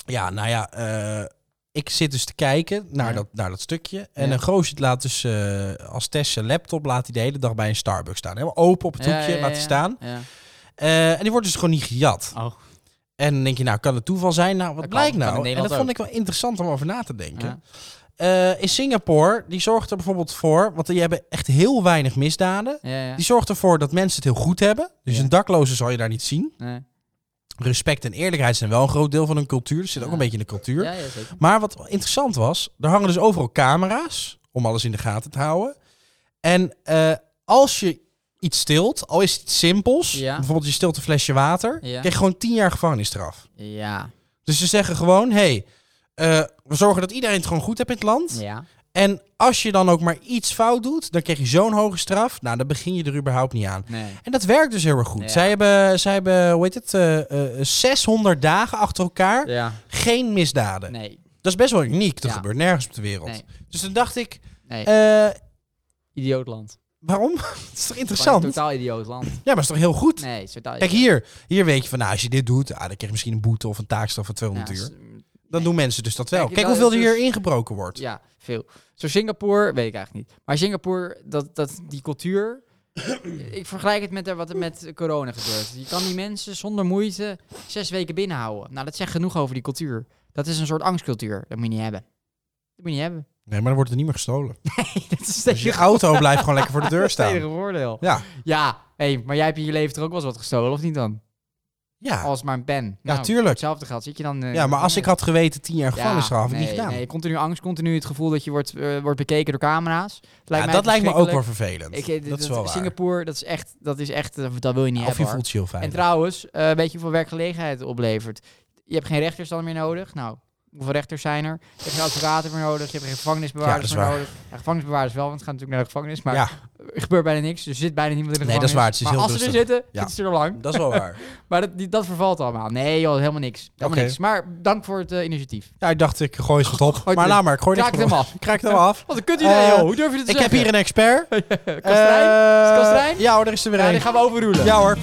A: Ja, nou ja, eh, ik zit dus te kijken naar,
B: Ja.
A: dat, naar dat stukje. En
B: Ja.
A: een gozer laat dus eh, als test zijn laptop laat hij de hele dag bij een Starbucks staan. Helemaal open op het hoekje, laat hij staan.
B: Ja.
A: Eh, en die wordt dus gewoon niet gejat.
B: Oh.
A: En dan denk je, nou, kan het toeval zijn? Nou, wat
B: Dat kan,
A: blijkt
B: kan in
A: nou? En
B: Nederland
A: dat vond
B: ook.
A: ik wel interessant om over na te denken. Eh, in Singapore, die zorgt er bijvoorbeeld voor, want die hebben echt heel weinig misdaden.
B: Ja, ja.
A: Die zorgt ervoor dat mensen het heel goed hebben. Dus
B: Ja.
A: een dakloze zal je daar niet zien.
B: Nee.
A: Respect en eerlijkheid zijn wel een groot deel van hun cultuur. Dat zit ook
B: Ja.
A: een beetje in de cultuur.
B: Ja, ja, zeker.
A: Maar wat interessant was, er hangen dus overal camera's om alles in de gaten te houden. En eh, als je iets stilt, al is het iets simpels,
B: Ja.
A: bijvoorbeeld je stilt een flesje water,
B: Ja.
A: krijg je gewoon 10 jaar gevangenisstraf.
B: Ja.
A: Dus ze zeggen gewoon, hé, hey, eh, we zorgen dat iedereen het gewoon goed heeft in het land.
B: Ja.
A: En als je dan ook maar iets fout doet, dan krijg je zo'n hoge straf. Nou, dan begin je er überhaupt niet aan.
B: Nee.
A: En dat werkt dus heel erg goed.
B: Ja.
A: Zij, hebben, zij hebben, hoe heet het, eh, eh, 600 dagen achter elkaar
B: Ja.
A: geen misdaden.
B: Nee.
A: Dat is best wel uniek. Dat
B: Ja.
A: gebeurt nergens op de wereld.
B: Nee.
A: Dus toen dacht ik,
B: Nee.
A: eh,
B: idiootland.
A: waarom? Het is toch
B: Gewoon een
A: interessant? Ja,
B: Totaal idiootland.
A: maar het is toch heel goed?
B: Nee, het is totaal
A: Kijk, hier, hier weet je van, nou, als je dit doet, ah, dan krijg je misschien een boete of een taakstraf van 200 uur. Dan doen mensen dus dat wel.
B: Kijk,
A: Kijk,
B: dat-
A: hoeveel er
B: dus-
A: hier ingebroken wordt.
B: Ja, veel. Zo Singapore, weet ik eigenlijk niet. Maar Singapore, dat, dat, die cultuur... ik vergelijk het met eh, wat er met corona gebeurt. Je kan die mensen zonder moeite zes weken binnenhouden. Nou, dat zegt genoeg over die cultuur. Dat is een soort angstcultuur. Dat moet je niet hebben. Dat moet je niet hebben.
A: Nee, maar dan wordt er niet meer gestolen.
B: dat is
A: Dus je auto blijft gewoon lekker voor de deur
B: het
A: staan.
B: enige voordeel.
A: Ja.
B: Ja, hé, maar jij hebt in je leven er ook wel eens wat gestolen, of niet dan?
A: Ja,
B: als maar een pen. Nou,
A: Ja, tuurlijk.
B: Hetzelfde geldt. Zit je dan... eh,
A: ja maar als
B: Oh, nee.
A: ik had geweten tien jaar
B: Ja,
A: gevangenisstraf, had ik
B: nee,
A: niet gedaan.
B: Nee, continu angst, continu het gevoel dat je wordt, eh, wordt bekeken door camera's. Het
A: Ja,
B: Lijkt mij
A: dat lijkt me ook wel
B: verschrikkelijk.
A: vervelend.
B: Ik, eh,
A: dat is wel waar.
B: Singapore, dat is echt, dat is echt, eh, dat wil je niet
A: of
B: hebben.
A: je
B: hoor.
A: voelt je heel
B: En
A: veilig.
B: trouwens, eh weet je hoeveel werkgelegenheid het oplevert? Je hebt geen rechters dan meer nodig. Nou, hoeveel rechters zijn er? Je hebt geen advocaten meer nodig. Je hebt geen gevangenisbewaarders
A: Ja, dat is
B: meer
A: waar.
B: nodig. Ja, gevangenisbewaarders wel, want het gaat natuurlijk naar de gevangenis. Maar
A: ja,
B: er gebeurt bijna niks. dus Er zit bijna niemand in de
A: Nee, dat
B: gevangenis.
A: is waar. Het is
B: maar
A: heel
B: als ze
A: rustig.
B: er zitten,
A: Ja.
B: zitten ze er lang.
A: dat is wel waar.
B: Maar dat, die, dat vervalt allemaal. Nee joh, helemaal niks. Helemaal
A: Oké.
B: niks. Maar dank voor het eh, initiatief.
A: Ja, ik dacht, ik gooi eens wat op.
B: het
A: maar
B: in.
A: laat maar, ik gooi
B: Kraak
A: niks
B: het
A: meer
B: hem
A: op.
B: af.
A: Ik kraak het hem af.
B: Wat een kut idee
A: Eh,
B: joh. Hoe durf je dit te
A: Ik heb hier een expert.
B: een... Kastrein? Is het Kastrein?
A: Eh, Ja hoor, daar is er weer
B: Ja,
A: een.
B: die gaan we overroelen.
A: Ja hoor.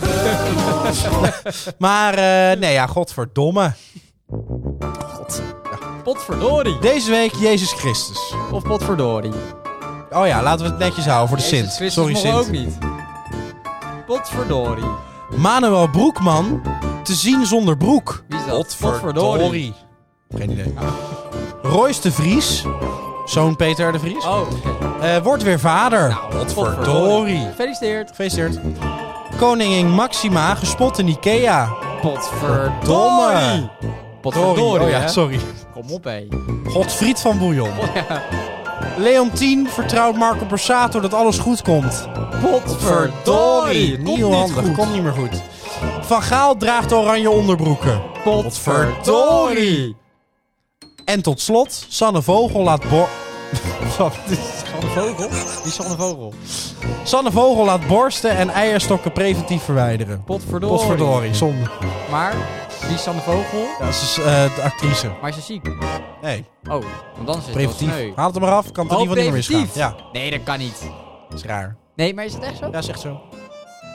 A: maar eh, nee, ja, godverdomme.
B: Potverdorie.
A: Deze week Jezus Christus.
B: Of potverdorie.
A: Oh ja, laten we het netjes houden voor de
B: Jezus
A: Sint.
B: Christus
A: Sorry
B: mogen we ook
A: Sint.
B: niet. Potverdorie.
A: Manuel Broekman, te zien zonder broek.
B: Wie is dat?
A: Potverdorie. Geen idee. Royce de Vries, zoon Peter R. de Vries,
B: Oh,
A: eh, wordt weer
B: Nou,
A: vader. potverdorie.
B: Gefeliciteerd.
A: Gefeliciteerd. Koningin Maxima, gespot in Ikea.
B: Potverdorie.
A: Dorie,
B: Potverdorie,
A: oh ja,
B: hè?
A: sorry.
B: Kom op, hé.
A: Godfried van Bouillon. Leontien vertrouwt Marco Borsato dat alles goed komt.
B: Potverdorie.
A: Niet heel handig,
B: goed.
A: komt niet meer goed. Van Gaal draagt oranje onderbroeken.
B: Potverdorie.
A: En tot slot, Sanne Vogel laat bor... Wat is-
B: Van vogel? Die is van de vogel.
A: Sanne Vogel laat borsten en eierstokken preventief verwijderen.
B: Potverdorie.
A: Potverdorie, zonde.
B: Maar, die is van de vogel,
A: Ja, ze is eh, de actrice.
B: maar ze is ziek.
A: Nee,
B: Oh, want dan is het wel sneu.
A: preventief. Haal het er maar af, kan het in
B: Oh,
A: ieder geval niet meer misgaan.
B: preventief.
A: Ja,
B: Nee, dat kan niet.
A: dat is raar.
B: Nee, maar is het echt zo?
A: Ja, is echt zo.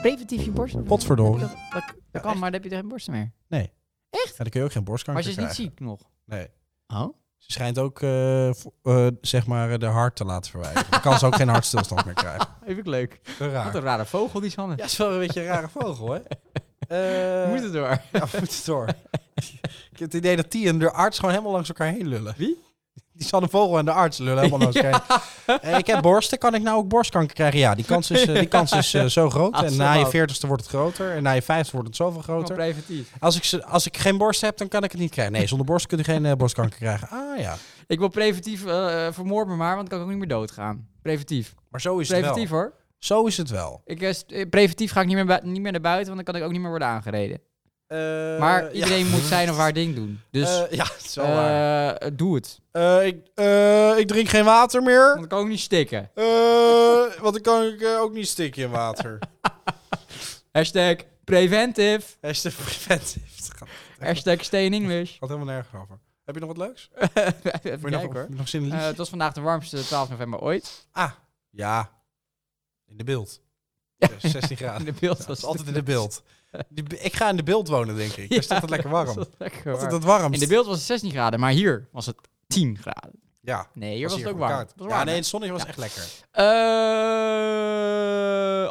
B: Preventief je borsten?
A: Potverdorie.
B: Dat, dat, dat kan, maar dan heb je er geen borsten meer.
A: Nee. Echt? Ja, dan kun je ook geen borstkanker
B: Maar ze is niet
A: krijgen.
B: ziek nog.
A: Nee.
B: Oh?
A: Ze schijnt ook, eh, vo- eh, zeg maar, eh, de hart te laten verwijderen. Dan kan ze ook geen hartstilstand meer krijgen.
B: Even leuk.
A: Te raar.
B: Wat een rare vogel, die Sanne.
A: Ja, is wel een beetje een rare vogel, Eh, hè?
B: Moet het door.
A: Ja, we moeten door. Ik heb het idee dat die en de arts gewoon helemaal langs elkaar heen lullen.
B: Wie?
A: Die Sanne Vogel en de arts lullen helemaal langs elkaar heen. Eh, ik heb borsten, kan ik nou ook borstkanker krijgen? Ja, die kans is, eh, die kans is eh, zo groot.
B: Ah,
A: en
B: zo
A: na je
B: groot.
A: veertigste wordt het groter. En na je vijftigste wordt het zoveel
B: Gewoon
A: groter.
B: preventief.
A: Als ik, ze- als ik geen borst heb, dan kan ik het niet krijgen. Nee, zonder borst kun je geen eh, borstkanker krijgen. Ah ja,
B: Ik wil preventief, eh eh, vermoord me maar, want dan kan ik ook niet meer doodgaan. Preventief.
A: maar zo is het wel.
B: Preventief hoor.
A: Zo is het wel.
B: Ik, eh, st- eh, preventief ga ik niet meer, bui- niet meer naar buiten, want dan kan ik ook niet meer worden aangereden. maar iedereen moet zijn of haar ding doen. Dus
A: Eh, ja, het Eh, is wel waar.
B: eh, eh, doe het.
A: Eh, ik, eh, ik drink geen water
B: Want
A: meer.
B: ik kan ook niet stikken.
A: Eh, want dan kan ik eh, ook niet stikken in water.
B: Hashtag preventive.
A: Hashtag preventive. Het gaat, het
B: Hashtag stay in English.
A: gaat helemaal nergens over. Heb je nog wat leuks?
B: Even
A: Heb je nog,
B: kijken hoor.
A: nog zin in
B: Eh,
A: liedje?
B: het was vandaag de warmste 12 november ooit.
A: Ah, ja. In de beeld.
B: Ja.
A: 16 graden.
B: De beeld
A: Ja, het
B: was
A: is altijd in de beeld. Die be- ik ga in de beeld wonen, denk ik. Daar is het altijd lekker warm.
B: Dat is lekker warm.
A: Altijd het warmst.
B: In de beeld was het 16 graden, maar hier was het 10 graden.
A: Ja.
B: Nee, hier was,
A: hier
B: het ook
A: gewoon
B: warm.
A: koud.
B: Het was
A: Ja,
B: warm,
A: nee,
B: hè?
A: het zonnetje was
B: Ja.
A: echt lekker.
B: Eh,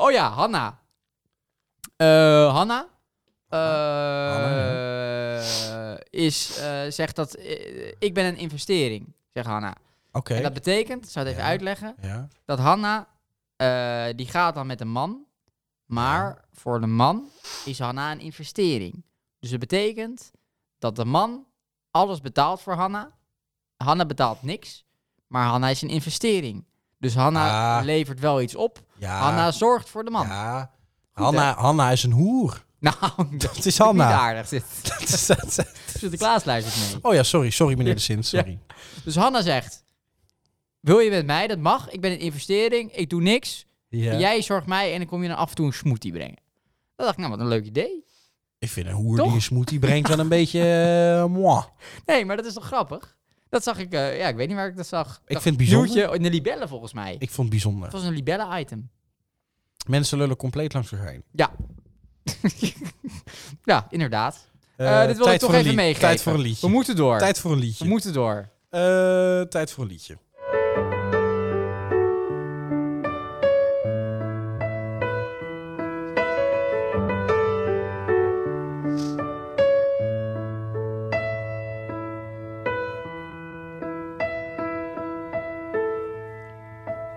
B: oh ja, Hanna. Eh, Hanna. eh, is, eh, zegt dat eh, ik ben een investering, zegt Hanna.
A: Oké.
B: En dat betekent, ik zou het even
A: Ja.
B: uitleggen,
A: Ja.
B: dat Hanna, eh, die gaat dan met een man, maar voor de man is Hanna een investering. Dus dat betekent dat de man alles betaalt voor Hanna. Hanna betaalt niks, maar Hanna is een investering. Dus Hanna
A: Ah.
B: levert wel iets op.
A: Ja.
B: Hanna zorgt voor de man.
A: Ja.
B: Goed,
A: Hanna, Hanna is een hoer.
B: Nou, dat
A: Dat is
B: is niet
A: Hanna.
B: aardig. Zit
A: Dat is- dat is-
B: Sinterklaas luistert mee.
A: oh ja, sorry. Sorry, meneer de Sint. Sorry.
B: Dus Hanna zegt, wil je met mij? Dat mag. Ik ben een investering. Ik doe niks.
A: Ja.
B: Jij zorgt mij en dan kom je dan af en toe een smoothie brengen. Dat dacht ik, nou wat een leuk idee.
A: Ik vind een hoer
B: Toch?
A: die een smoothie brengt wel een beetje... eh, moi.
B: Nee, maar dat is toch grappig? Dat zag ik, eh, ja, ik weet niet waar ik dat zag.
A: vind het bijzonder.
B: Nieuwtje in de libellen volgens mij.
A: Ik vond het bijzonder.
B: Het was een libellen-item.
A: Mensen lullen compleet langs elkaar heen.
B: Ja. ja, inderdaad.
A: Eh,
B: Eh, dit wil ik
A: tijd
B: toch
A: voor een
B: even
A: lied-
B: meegeven.
A: Tijd voor een liedje.
B: We moeten door.
A: Tijd voor een
B: We
A: liedje.
B: moeten door.
A: Eh, tijd voor een liedje.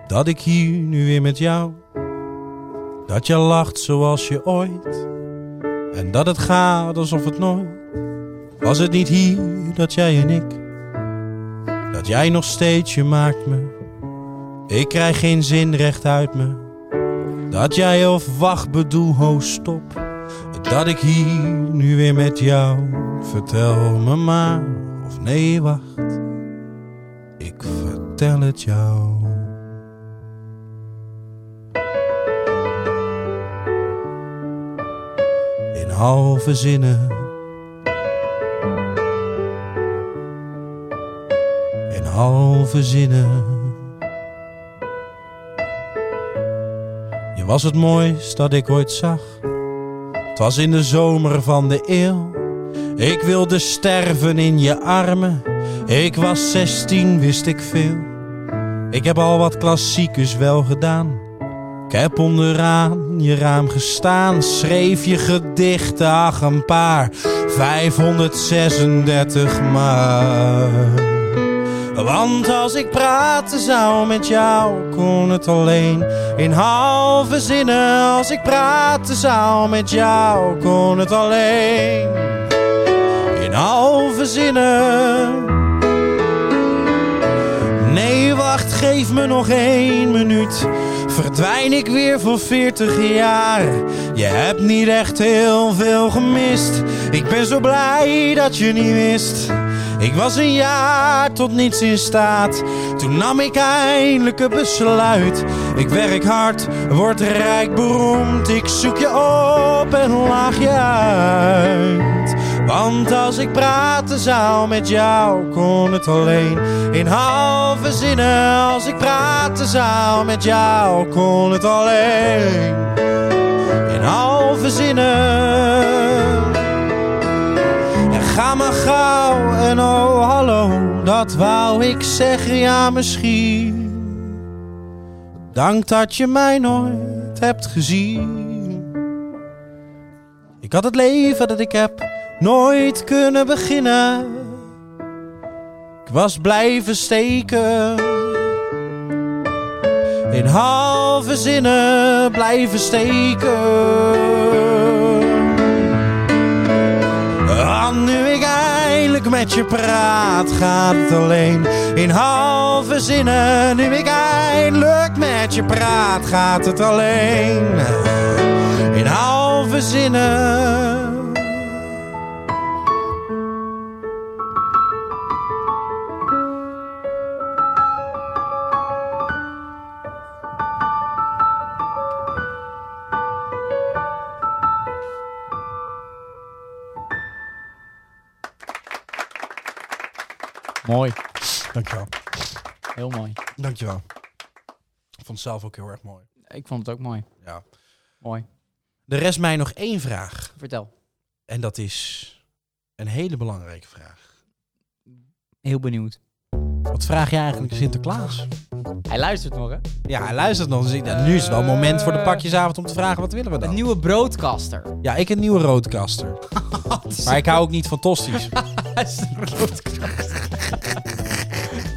A: Dat ik hier nu weer met jou, dat je lacht zoals je ooit En dat het gaat alsof het nooit. Was het niet hier dat jij en ik. Dat jij nog steeds je maakt me. Ik krijg geen zin recht uit me. Dat jij of wacht bedoel, ho stop. Dat ik hier nu weer met jou. Vertel me maar. Of nee, wacht. Ik vertel het jou. in halve zinnen. In halve zinnen. Je was het mooist dat ik ooit zag. Het was in de zomer van de eeuw. Ik wilde sterven in je armen. Ik was zestien, wist ik veel. Ik heb al wat klassiekers wel gedaan. Ik heb onderaan je raam gestaan, schreef je gedichten, ach een paar, 536 maar. Want als ik praten zou met jou, kon het alleen in halve zinnen. Als ik praten zou met jou, kon het alleen in halve zinnen. Nee, wacht, geef me nog één minuut. Verdwijn ik weer voor 40 jaar. Je hebt niet echt heel veel gemist. Ik ben zo blij dat je niet wist. Ik was een jaar tot niets in staat. Toen nam ik eindelijk een besluit. Ik werk hard, word rijk beroemd. Ik zoek je op en laag je uit. Want als ik praten zou met jou, kon het alleen in halve zinnen. Als ik praten zou met jou, kon het alleen in halve zinnen. En ga maar gauw en oh hallo, dat wou ik zeggen, ja misschien. Dank dat je mij nooit hebt gezien. Ik had het leven dat ik heb nooit kunnen beginnen. Ik was blijven steken. In halve zinnen blijven steken. Want nu ik eindelijk met je praat, gaat het alleen in halve zinnen. Nu ik eindelijk met je praat, gaat het alleen in halve zinnen.
B: Mooi.
A: Dankjewel.
B: Heel mooi.
A: Dankjewel. Ik vond het zelf ook heel erg mooi.
B: Ik vond het ook mooi.
A: Ja.
B: Mooi.
A: Er rest mij nog één vraag.
B: Vertel.
A: En dat is een hele belangrijke vraag.
B: Heel benieuwd.
A: Wat vraag je eigenlijk Sinterklaas?
B: Hij luistert nog, hè?
A: Ja, hij luistert nog. Dus ik dacht, nu is het wel het moment voor de pakjesavond om te vragen, wat willen we
B: Een
A: dan?
B: nieuwe broadcaster.
A: Ja, ik een nieuwe roodkaster. maar ik hou ook niet van tosties.
B: Hij is een broadcaster.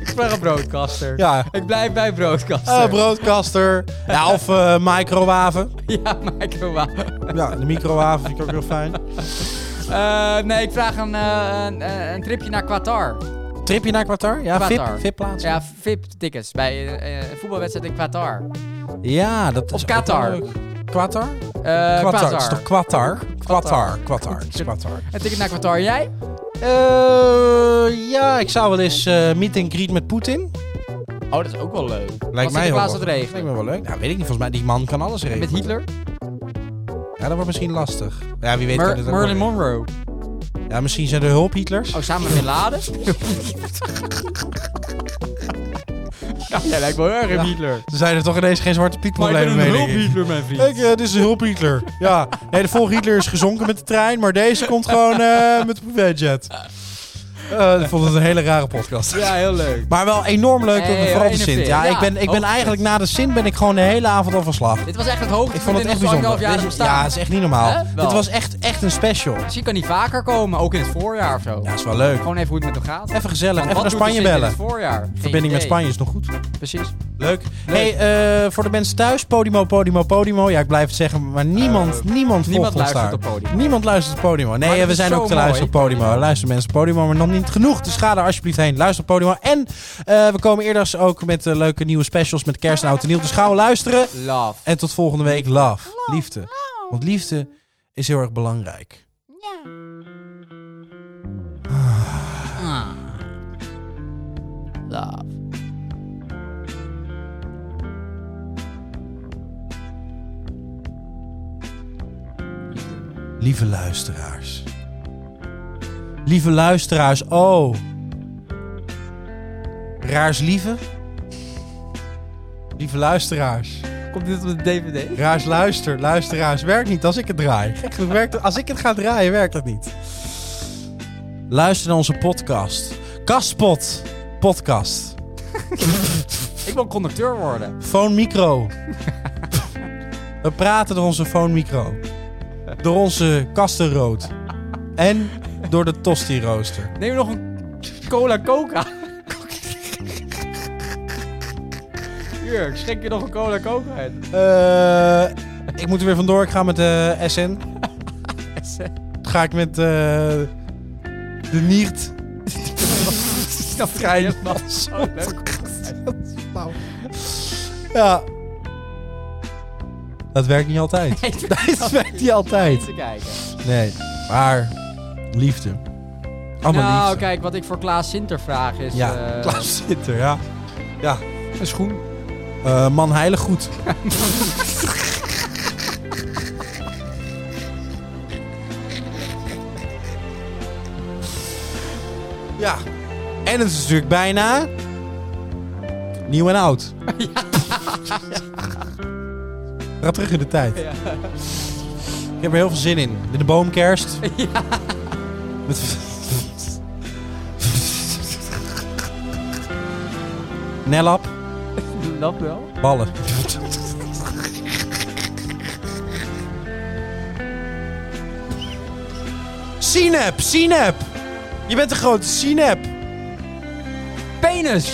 B: Ik vraag een broadcaster.
A: Ja.
B: Ik blijf bij broadcaster.
A: Eh broodkaster. Ja, of eh microwaven.
B: ja, microwave.
A: Ja, de microwaven vind ik ook heel fijn.
B: Eh, nee, ik vraag een, eh, een, eh, een tripje naar Qatar.
A: Tripje naar Qatar? Ja,
B: Qatar.
A: VIP, VIP plaatsen.
B: Ja, VIP-tickets bij eh, eh, een voetbalwedstrijd in Qatar.
A: Ja, dat is
B: Of
A: ook
B: Qatar.
A: wel leuk. Qatar?
B: Eh
A: Qatar. Het is toch Qatar? Qatar.
B: Qatar.
A: Qatar. Het is Qatar.
B: Een ticket naar Qatar. Jij?
A: Eh, ja, ik zou wel eens eh, meet and greet met Poetin.
B: Oh, dat is ook wel leuk.
A: Lijkt mij heel
B: Sinterklaas
A: wat.
B: het regelen?
A: Lijkt me wel leuk. Nou, weet ik niet. Volgens mij, die man kan alles regelen.
B: Met Hitler?
A: Ja, dat wordt misschien lastig. Ja, wie weet.
B: Mer-
A: kan het ook
B: Marilyn
A: wel-
B: Monroe.
A: Ja, misschien zijn er hulp-Hitlers.
B: Oh, samen met Bin Laden? ja, jij lijkt wel erg een Hitler.
A: Er zijn er toch ineens geen zwarte piet problemen mee, denk ik.
B: mijn vriend.
A: Kijk, eh, dit is een hulp-Hitler. Ja, nee, de volgende Hitler is gezonken met de trein, maar deze komt gewoon eh, met de privéjet. Eh, ik vond het een hele rare podcast.
B: Ja, heel leuk.
A: Maar wel enorm leuk,
B: Hey,
A: vooral de
B: hey,
A: Sint. Ja,
B: ja,
A: ik ben, ik ben
B: hoogtepunt.
A: eigenlijk na de Sint ben ik gewoon de hele avond al van slag.
B: Dit was echt het hoogste.
A: Ik vond het echt bijzonder. Dit
B: Jaar
A: is- ja,
B: bestaan.
A: het is echt niet normaal.
B: Hè? Wel.
A: Dit was echt, echt een special. Ja,
B: Misschien kan die vaker komen, ook in het voorjaar of zo.
A: is wel leuk.
B: Gewoon even hoe het met hem gaat.
A: Even gezellig.
B: Want
A: Even naar
B: wat doet de
A: Spanje
B: Sint in
A: bellen.
B: het voorjaar? Geen
A: Verbinding met
B: idee.
A: Spanje is nog goed.
B: Precies.
A: Leuk. Hey, eh, voor de mensen thuis, Podimo, Podimo, Podimo. Ja, ik blijf het zeggen, maar niemand, niemand
B: Eh, niemand
A: volgt ons
B: luistert
A: daar.
B: op Podimo.
A: Niemand luistert op Podimo.
B: Maar
A: Nee, eh,
B: dat
A: we
B: is
A: zijn
B: zo
A: ook te
B: mooi.
A: luisteren op Podimo. Luister mensen op Podimo, maar nog niet genoeg. Dus ga daar alsjeblieft heen. Luister op Podimo. En eh, we komen eerder ook met eh, leuke nieuwe specials met kerst en oud en nieuw. Dus gauw luisteren.
B: Love.
A: En tot volgende week. Love. Liefde. Want liefde is heel erg belangrijk.
B: Love.
A: Lieve luisteraars. Lieve luisteraars, oh. Raars lieve. Lieve luisteraars.
B: Komt dit op de DVD?
A: Raars luister. Luisteraars, werkt niet als ik het draai. Gek genoeg werkt het- als ik het ga draaien, werkt dat niet. Luister naar onze podcast. Kastpot. Podcast.
B: Ik wil conducteur worden.
A: Phone micro. We praten door onze phone micro. Door onze kastenrood. En door de tosti rooster.
B: Neem nog een cola coca. Hier, ik schenk je nog een cola coca in.
A: Eh, ik moet er weer vandoor. Ik ga met eh, de SN. Ga ik met eh, de Niert.
B: Dat
A: Trein. Ja. Dat werkt niet altijd. Dat werkt niet altijd.
B: te kijken.
A: Nee. Maar liefde. Allemaal
B: nou,
A: liefde.
B: kijk, wat ik voor Klaas Sinter vraag is...
A: Ja,
B: eh,
A: Klaas Sinter, ja. Ja, een schoen. man heilig goed. ja, en het is natuurlijk bijna nieuw en oud. Ga terug in de tijd. Ik heb er heel veel zin in. In de boomkerst. Met... Nellap.
B: Dat wel.
A: Ballen. Sinep, Sinep. Je bent de grote Sinep.
B: Penis!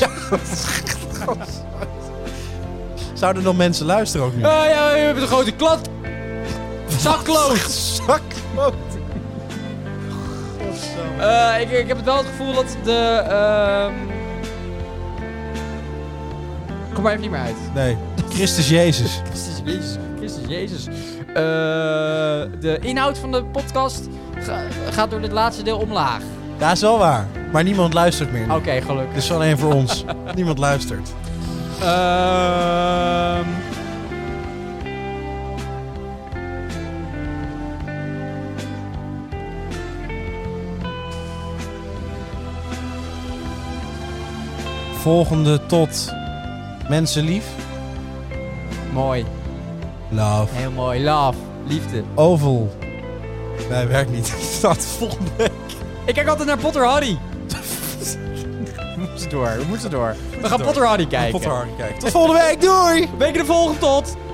A: Zouden nog mensen luisteren ook nu?
B: Ah, ja, je hebt een grote klad. Zakloot.
A: Zak.
B: Eh, ik, ik heb het wel het gevoel dat de... ehm Kom maar even niet meer uit.
A: Nee, Christus Jezus.
B: Christus Jezus. Christus Jezus. Eh, de inhoud van de podcast ga- gaat door dit laatste deel omlaag.
A: Dat is wel waar. Maar niemand luistert meer. nu.
B: Oké, gelukkig.
A: Dit is alleen voor ons. niemand luistert.
B: Dus- Ehm.
A: Volgende tot mensen lief.
B: Mooi.
A: Love.
B: Heel mooi. Love. Liefde.
A: Oval. Nee, werkt niet. Start volgende week.
B: Ik kijk altijd naar Potter Harry. we moeten door. We moeten door. We gaan Potter Harry kijken.
A: Potter, kijk. Tot volgende week. Doei!
B: Weken de volgende tot.